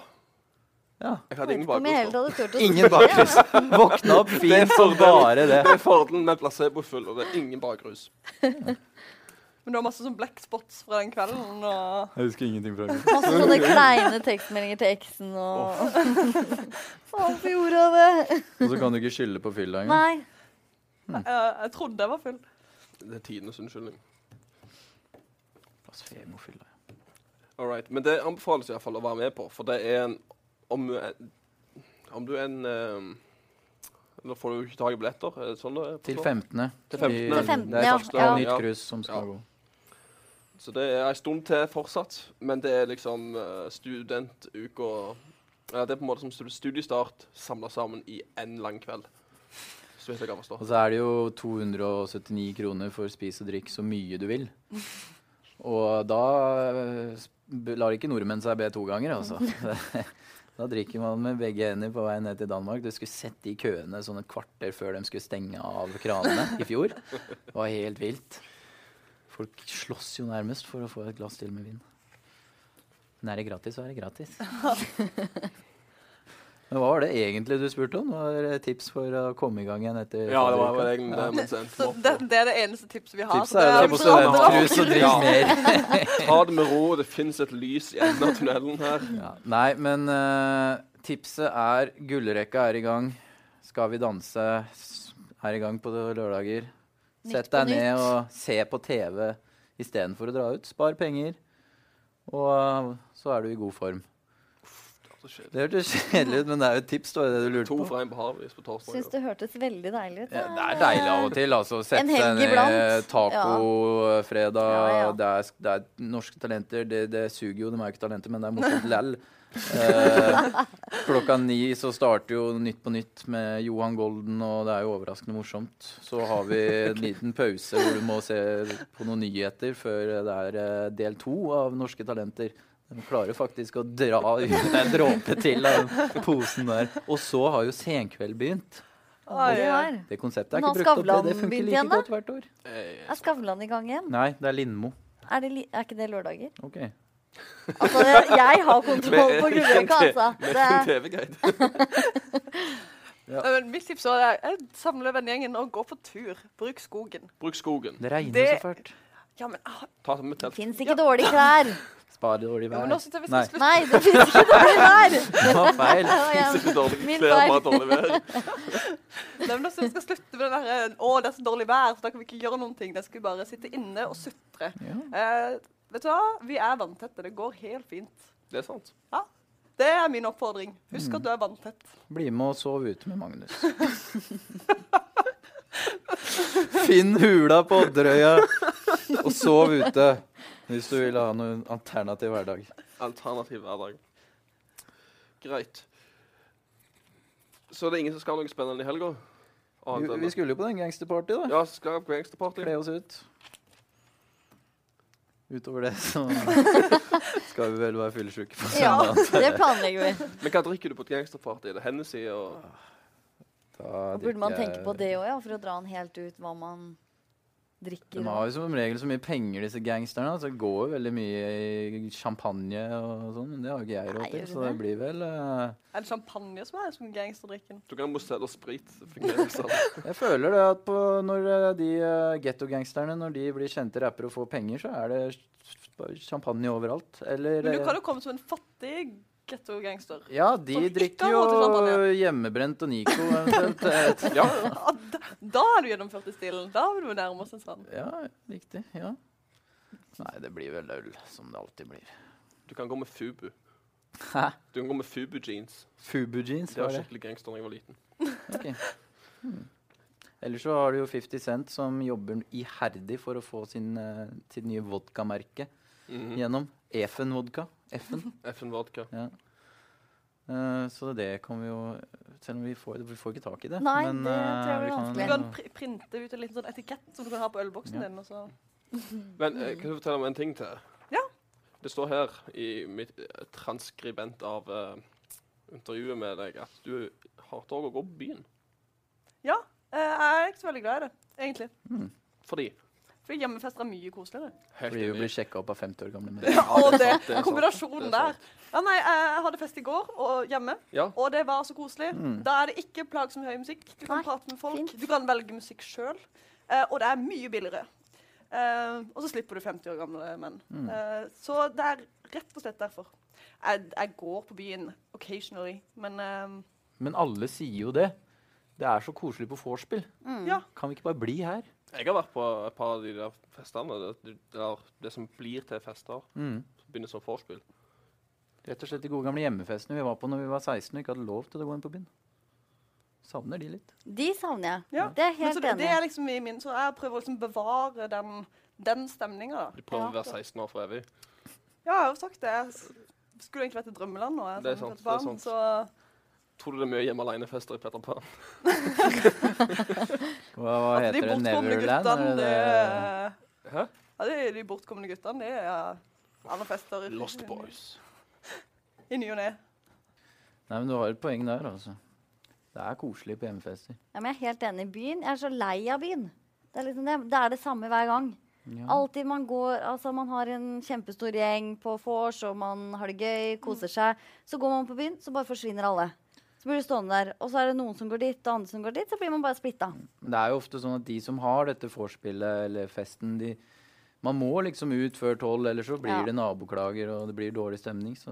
S1: Jeg
S2: Ja.
S3: Jeg
S1: hadde
S3: vet
S1: ingen
S3: ikke om
S1: bakgrunn.
S3: jeg helt hadde turt å
S2: Ingen bakrus. Våkna opp
S1: Det er
S2: fint for bare det.
S1: Det er fordelen med placebofull, og det er ingen bakrus.
S4: Men du har masse sånn black spots fra den kvelden. og...
S2: Jeg husker ingenting fra det.
S3: Masse sånne kleine tekstmeldinger til eksen og Faen, for gjorde av det?
S2: Og så kan du ikke skylde på
S1: Mm.
S2: fylla engang.
S3: Nei.
S4: Nei, Jeg, jeg trodde jeg var full.
S1: Det er tidenes unnskyldning.
S2: Blasfemofylla.
S1: All right. Men det anbefales i hvert fall å være med på, for det er en Om, du er- om du er en eh, Nå får du jo ikke tak i billetter. Er det sånn det er? på
S2: Til
S1: Torp?
S2: 15.
S1: Til 15.
S3: Til 15,
S2: Det er
S3: ja.
S2: første
S3: Ja.
S2: nytt
S1: Ja.
S2: cruise som skal
S1: Ja.
S2: gå.
S1: Så det er en stund til fortsatt, men det er liksom eh, studentuka ja, Det er på en måte som stud- studiestart samla sammen i én lang kveld. Så vidt jeg kan forstå.
S2: Og så er det jo 279 kroner for spis og drikk så mye du vil. Og da eh, sp- lar ikke nordmenn seg be to ganger, altså. Da drikker man med begge hender på vei ned til Danmark. Du skulle sett de køene sånn et kvarter før de skulle stenge av kranene i fjor. Det var helt vilt. Folk slåss jo nærmest for å få et glass til med vin. Men er det gratis, så er det gratis. Men hva var det egentlig du spurte om? Var det tips for å komme i gang igjen etter
S1: Ja, det var
S2: faderuka?
S1: vel egentlig det. Men
S4: Så
S1: sendte
S4: det,
S1: meg opp.
S4: det er det altså- eneste tipset vi har.
S2: Tipset er jo
S1: på
S2: på
S1: så det er
S2: studentcruise og drikk
S1: Ja.
S2: mer.
S1: Ta det med ro. Det fins et lys i enden av tunnelen her.
S2: Ja. Nei, men eh, tipset er gullrekka er i gang. Skal vi danse s- er i gang på lørdager.
S3: Nytt
S2: Sett
S3: på
S2: deg ned
S3: nytt.
S2: og se på TV istedenfor å dra ut. Spar penger, og eh, så er du i god form.
S1: Så skjer det.
S2: Det hørtes kjedelig ut, men det er jo et tips. Det var det du lurte
S1: To
S2: på.
S1: fra en på havet på torsdag.
S3: Syns det hørtes veldig deilig ut.
S2: Ja, det er deilig av og til. altså Sette
S3: En
S2: seg
S3: helg
S2: ned
S3: iblant.
S2: tacofredag.
S3: Ja, ja.
S2: Det, er- det er norske talenter. Det, det suger jo, de er jo ikke talenter, men det er morsomt lell. Eh, klokka ni så starter jo Nytt på nytt med Johan Golden, og det er jo overraskende morsomt. Så har vi en liten pause hvor du må se på noen nyheter før det er eh, del to av Norske talenter. De klarer faktisk å dra ut en dråpe til av den posen der. Og så har jo Senkveld begynt.
S4: Oi,
S3: Det
S4: oi.
S3: her.
S2: Det konseptet er
S3: Men
S2: ikke
S3: har
S2: brukt opp. Det, det funker
S3: Skavlan begynt
S2: like
S3: igjen, da?
S2: godt hvert år.
S1: Eh,
S3: Er Skavlan i gang igjen?
S2: Nei, det er Lindmo.
S3: Er, det li er ikke det lørdager?
S2: Ok.
S3: Altså, det, jeg har kontroll på
S1: Med-
S3: gullrekka, altså.
S1: Med
S3: Det,
S1: en TV-guide.
S4: Eh, men Mitt tips er eh, samle vennegjengen og gå på tur. Bruk skogen.
S1: Bruk skogen.
S2: Det regner
S4: Det-
S2: så fælt.
S4: Ja, men, ah,
S1: Ta med telt.
S3: fins ikke dårlige klær.
S2: Spar dårlig
S4: ja,
S2: vær.
S4: men nå
S3: altså-
S4: synes jeg vi
S2: Nei.
S4: skal slutte.
S3: Nei, det fins ikke dårlige klær.
S2: Det var feil.
S3: Ja, ja.
S1: Ikke dårlige
S3: Min
S1: klær,
S3: feil.
S1: bare dårlig vær.
S4: Nei, men nå synes jeg vi skal slutte med den der eh, Å, det er så dårlig vær, så da kan vi ikke gjøre noen ting. Da skal vi bare sitte inne og sutre.
S2: Ja.
S4: Eh, vet du hva? Vi er vanntette. Det går helt fint.
S1: Det er sant.
S4: Det er min oppfordring. Husk at du er vanntett.
S2: Bli med og sov ute med Magnus. Finn hula på Odderøya og sov ute hvis du vil ha noen alternativ hverdag.
S1: Alternativ hverdag. Greit. Så det er ingen som skal ha noe spennende i helga? Annet
S2: Vi,
S1: enn
S2: vi
S1: det.
S2: skulle jo på den gangsterparty, da.
S1: Ja, så skal jeg på gangsterparty.
S2: Kle oss ut. Utover det så skal vi vel være fyllesyke. på
S3: Ja,
S2: søndag.
S3: det planlegger vi.
S1: Men hva drikker du på et gangsterparty? Er det Hennessy og
S2: Da
S3: Og Burde man
S2: drikker
S3: tenke på det òg, ja? For å dra den helt ut hva man drikker.
S2: De har jo som regel så mye penger, disse gangsterne. Så det går jo veldig mye i champagne og sånn. Men det har jo ikke jeg
S3: Nei,
S2: råd til,
S3: gjør
S2: så det
S3: det?
S2: blir vel eh,
S4: Er det champagne som er som gangsterdrikken?
S1: Du kan mozell og sprit. fungerer ikke sant?
S2: Jeg føler det at på, når eh, de eh, ghetto-gangsterne når de blir kjente rappere og får penger, så er det ch- bare champagne overalt. Eller
S4: Men du
S2: eh,
S4: kan jo komme som en fattig getto-gangster.
S2: Ja, de
S4: som ikke
S2: drikker
S4: har råd til
S2: jo
S4: champagne.
S2: hjemmebrent og Nico eventuelt. eh,
S1: Ja,
S4: Ah, da, da er du gjennomført i stilen. Da vil du nærme oss en sånn.
S2: ja, riktig. Ja. Nei, det blir vel øl, som det alltid blir.
S1: du kan gå med Fubu.
S2: Hæ?
S1: Du kan gå med Fubu-jeans.
S2: Fubu-jeans,
S1: Det var
S2: var det?
S1: skikkelig gangster da jeg var liten.
S2: Ok. Hmm. Ellers så har du jo 50 Cent som jobber iherdig for å få sin, eh, sitt nye vodkamerke
S1: Mhm.
S2: gjennom. Efen vodka. Effen.
S1: FN Vodka.
S2: Ja. Eh, så det kan vi jo Selv om vi får, vi får ikke tak i det.
S3: Nei,
S2: men
S3: det tror
S2: eh,
S3: jeg blir
S2: vi kan-
S4: Du
S3: vanskelig.
S4: kan pri printe ut en liten sånn etikett som du kan ha på
S2: Ja.
S4: ølboksen din. og så...
S1: Men eh, kan du fortelle om en ting til?
S4: Mm. Ja.
S1: Det står her i mitt eh, transkribent av eh, intervjuet med deg at du hater også å gå på byen.
S4: Ja, eh, jeg er ikke så veldig glad i det, egentlig.
S1: Fordi
S4: Fordi hjemmefester er mye koseligere.
S1: Helt
S2: hmm, Fordi hun
S1: enig.
S2: blir sjekka opp av 50 år gamle menn.
S4: Og det,
S1: sant, det er
S4: kombinasjonen
S1: sant, det er
S4: der. Ja, nei, jeg hadde fest i går og hjemme,
S1: Ja.
S4: og det var så koselig.
S1: Mm.
S4: Da er det ikke plagsom høy musikk. Du kan
S3: Nei,
S4: prate med folk,
S3: fint.
S4: du kan velge musikk sjøl, eh, og det er mye billigere. Eh, og så slipper du 50 år gamle menn.
S1: Mm.
S4: Eh, så det er rett og slett derfor. Jeg, jeg går på byen occasionally, men eh,
S2: Men alle sier jo det. Det er så koselig på vorspiel.
S3: Mm.
S4: Ja.
S2: Kan vi ikke bare bli her?
S1: Jeg har vært på et par av de der festene der, du- der det som blir til fester,
S2: Mm.
S1: begynner som vorspiel.
S2: Rett og slett de gode gamle hjemmefestene vi var på når vi var 16 og ikke hadde lov til å gå inn på byen. Savner de litt.
S3: De savner jeg.
S4: Ja.
S3: Det er jeg
S4: Men så
S3: helt
S4: det,
S3: enig
S4: det
S3: i.
S4: er liksom i min, så jeg prøver å liksom bevare den, den stemninga.
S1: Du prøver å være 16 år for evig.
S4: Ja, jeg har jo sagt det. Jeg s- skulle egentlig vært i drømmeland nå. Jeg,
S1: Det er
S4: som
S1: sant,
S4: et
S1: det er
S4: barn,
S1: sant.
S4: Så
S1: Tror du det er mye hjemme alene-fester i Peter Pan?
S2: Hva, hva
S4: at de
S2: heter det?
S4: bortkomne
S2: Neverland?
S4: guttene,
S2: Er det
S4: det
S2: det?
S1: Hæ?
S4: Ja, det er de bortkomne guttene. Det er alle fester i,
S1: Lost Boys.
S4: i ny og ne.
S2: Nei, men du har et poeng der, altså. Det er koselig på hjemmefester.
S3: Ja, men jeg er helt enig i byen. Jeg er så lei av byen. Det er, liksom det, det er det samme hver gang. Alltid man går Altså, man har en kjempestor gjeng på vors, og man har det gøy, koser
S4: Mm.
S3: seg. Så går man på byen, så bare forsvinner alle. Så blir du stående der. Og så er det noen som går dit, og andre som går dit. Så blir man bare splitta.
S2: Men det er jo ofte sånn at de som har dette vorspielet eller festen, de Man må liksom ut før tolv, ellers så blir
S3: Ja.
S2: det naboklager og det blir dårlig stemning. Så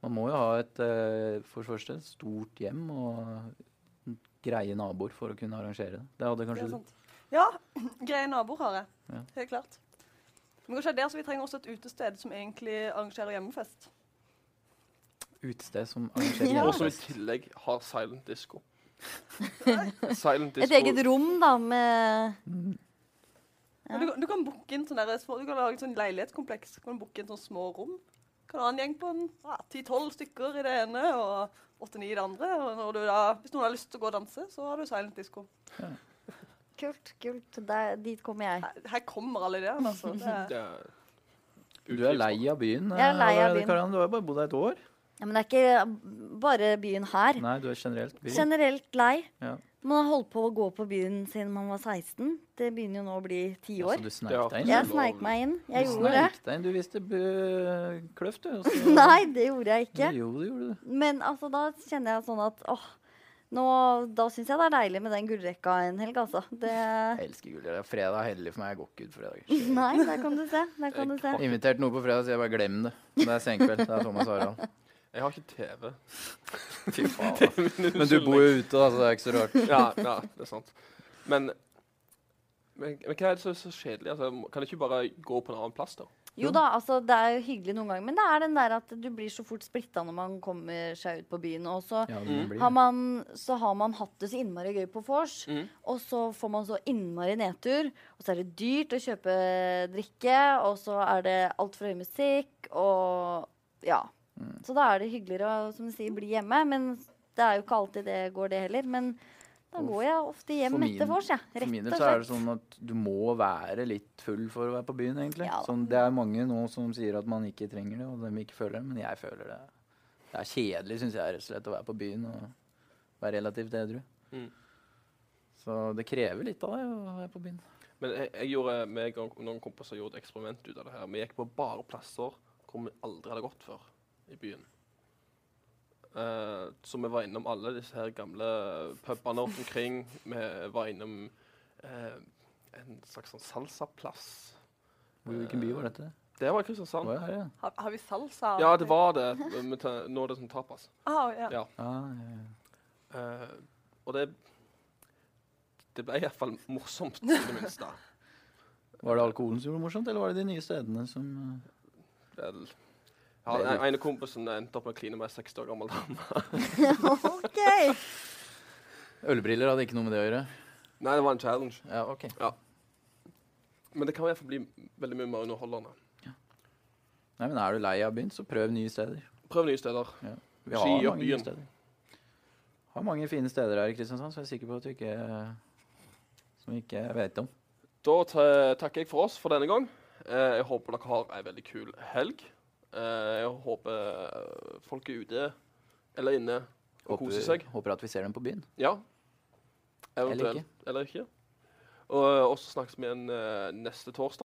S2: man må jo ha et eh, for det første et stort hjem og greie naboer for å kunne arrangere det. Det hadde
S4: Det
S2: kanskje
S4: er
S2: du.
S4: sant. Ja, greie naboer har jeg.
S2: Ja.
S4: Helt klart. Men kanskje det er der, så vi trenger også et utested som egentlig arrangerer hjemmefest.
S2: utested som arrangerer
S3: Ja.
S1: Og som i
S2: hjemmefest.
S1: tillegg har silent disco. silent
S3: Et
S1: disco.
S3: eget rom, da, med Ja.
S4: Men Du, du kan booke inn sånne der små, du kan lage et sånn leilighetskompleks. Du kan booke inn sånne små rom. Du kan ha en gjeng på en, ja, 10-12 stykker i det ene og 8-9 i det andre. Og når du da, hvis noen har lyst til å gå og danse, så har du silent disco.
S3: Kult, kult. Der, dit kommer jeg.
S4: Her, her kommer alle ideene, altså. Det er,
S1: Det er
S2: Du er lei av byen?
S3: Jeg er lei av
S2: eh,
S3: byen.
S2: Karan, du har jo bare bodd her et år.
S3: Ja, men det er ikke bare byen her.
S2: Nei, du er generelt by.
S3: Generelt lei.
S2: Ja.
S3: Man har holdt på å gå på byen siden man var 16. Det begynner jo nå å bli ti
S2: Ja, så
S3: år.
S2: Altså, du sneik deg inn?
S3: Jeg
S2: du.
S3: sneik meg inn. Jeg
S2: Du
S3: gjorde det.
S2: sneik deg inn. Du visste bø- kløft, du. og så-
S3: Nei, det gjorde jeg ikke.
S2: Jo, det gjorde du.
S3: Men altså, da kjenner jeg sånn at åh, nå, da syns jeg det er deilig med den gullrekka en helg, altså. Det,
S2: Jeg elsker gull. Det er Fredag er heldig for meg. Jeg går ikke ut fredager.
S3: nei, der kan du se. Der kan du se.
S2: Invitert noe på fredag, så jeg bare glem det. Det er senkveld. Det er Thomas Harald.
S1: Jeg har ikke TV.
S2: Fy faen. da. Men du bor jo ute, da, så det er ikke så rart.
S1: Ja, ja, det er sant. Men, men, men hva er det som er så kjedelig? Altså, må- kan jeg ikke bare gå på en annen plass, da?
S3: Jo da, altså, det er jo hyggelig noen ganger, men det er den der at du blir så fort splitta når man kommer seg ut på byen. Og så
S2: Ja, det Mm. blir.
S3: har man, så har man hatt det så innmari gøy på vors, og så får man så innmari nedtur. Og så er det dyrt å kjøpe drikke, og så er det altfor høy musikk, og ja.
S2: Mm.
S3: Så da er det hyggeligere å som du sier, bli hjemme, men det er jo ikke alltid det går, det heller. Men da
S2: Og
S3: går jeg ofte hjem
S2: for min-
S3: etter vors, jeg.
S2: For min del
S3: Rett og
S2: så er det
S3: slett.
S2: sånn at du må være litt full for å være på byen, egentlig.
S3: Ja da.
S2: Sånn, det er mange nå som sier at man ikke trenger det, og dem ikke føler det, men jeg føler det. Det er kjedelig, syns jeg, rett og slett, å være på byen og være relativt edru.
S1: Mm.
S2: Så det krever litt av deg å være på byen.
S1: Men jeg, jeg gjorde, meg og noen kompiser gjorde et eksperiment ut av det her. Vi gikk på bare plasser hvor vi aldri hadde gått før i byen. Eh, så vi var innom alle disse her gamle pubene rundt omkring. Vi var innom eh, en slags sånn salsaplass.
S2: Hvor- Hvilken by var dette?
S1: Det var
S2: Det
S1: Kristiansand.
S2: var jo her, ja.
S4: har, har vi salsa?
S1: Ja, det var det. men ta- Nå er det sånn tapas.
S4: Ah, ja.
S1: Ja.
S2: Ah, ja, ja.
S1: Eh, og det Det ble iallfall morsomt, i det minste.
S2: Var det alkoholen som gjorde det morsomt, eller var det de nye stedene som eh,
S1: Vel, ja, den ene kompisen endte opp med å kline med ei 60 år gammel dame.
S3: OK!
S2: Ølbriller hadde ikke noe med det å gjøre.
S1: Nei, det var en challenge.
S2: Ja, ok.
S1: Men det kan iallfall bli veldig mye mer underholdende.
S2: Nei, men er du lei av byen, så prøv nye steder.
S1: Prøv nye steder. Ski
S2: Vi har
S1: opp
S2: mange nye
S1: byen.
S2: steder. Har mange fine steder her i Kristiansand, så jeg er sikker på at du ikke Som vi ikke vet om.
S1: Da ta- takker jeg for oss for denne gang. Eh, Jeg håper dere har ei veldig kul helg. Eh, Jeg håper folk er ute eller inne og koser seg.
S2: håper at vi ser dem på byen.
S1: Ja.
S2: Eller
S1: Eventuelt. Eller ikke. Og eh, og så snakkes vi igjen eh, neste torsdag.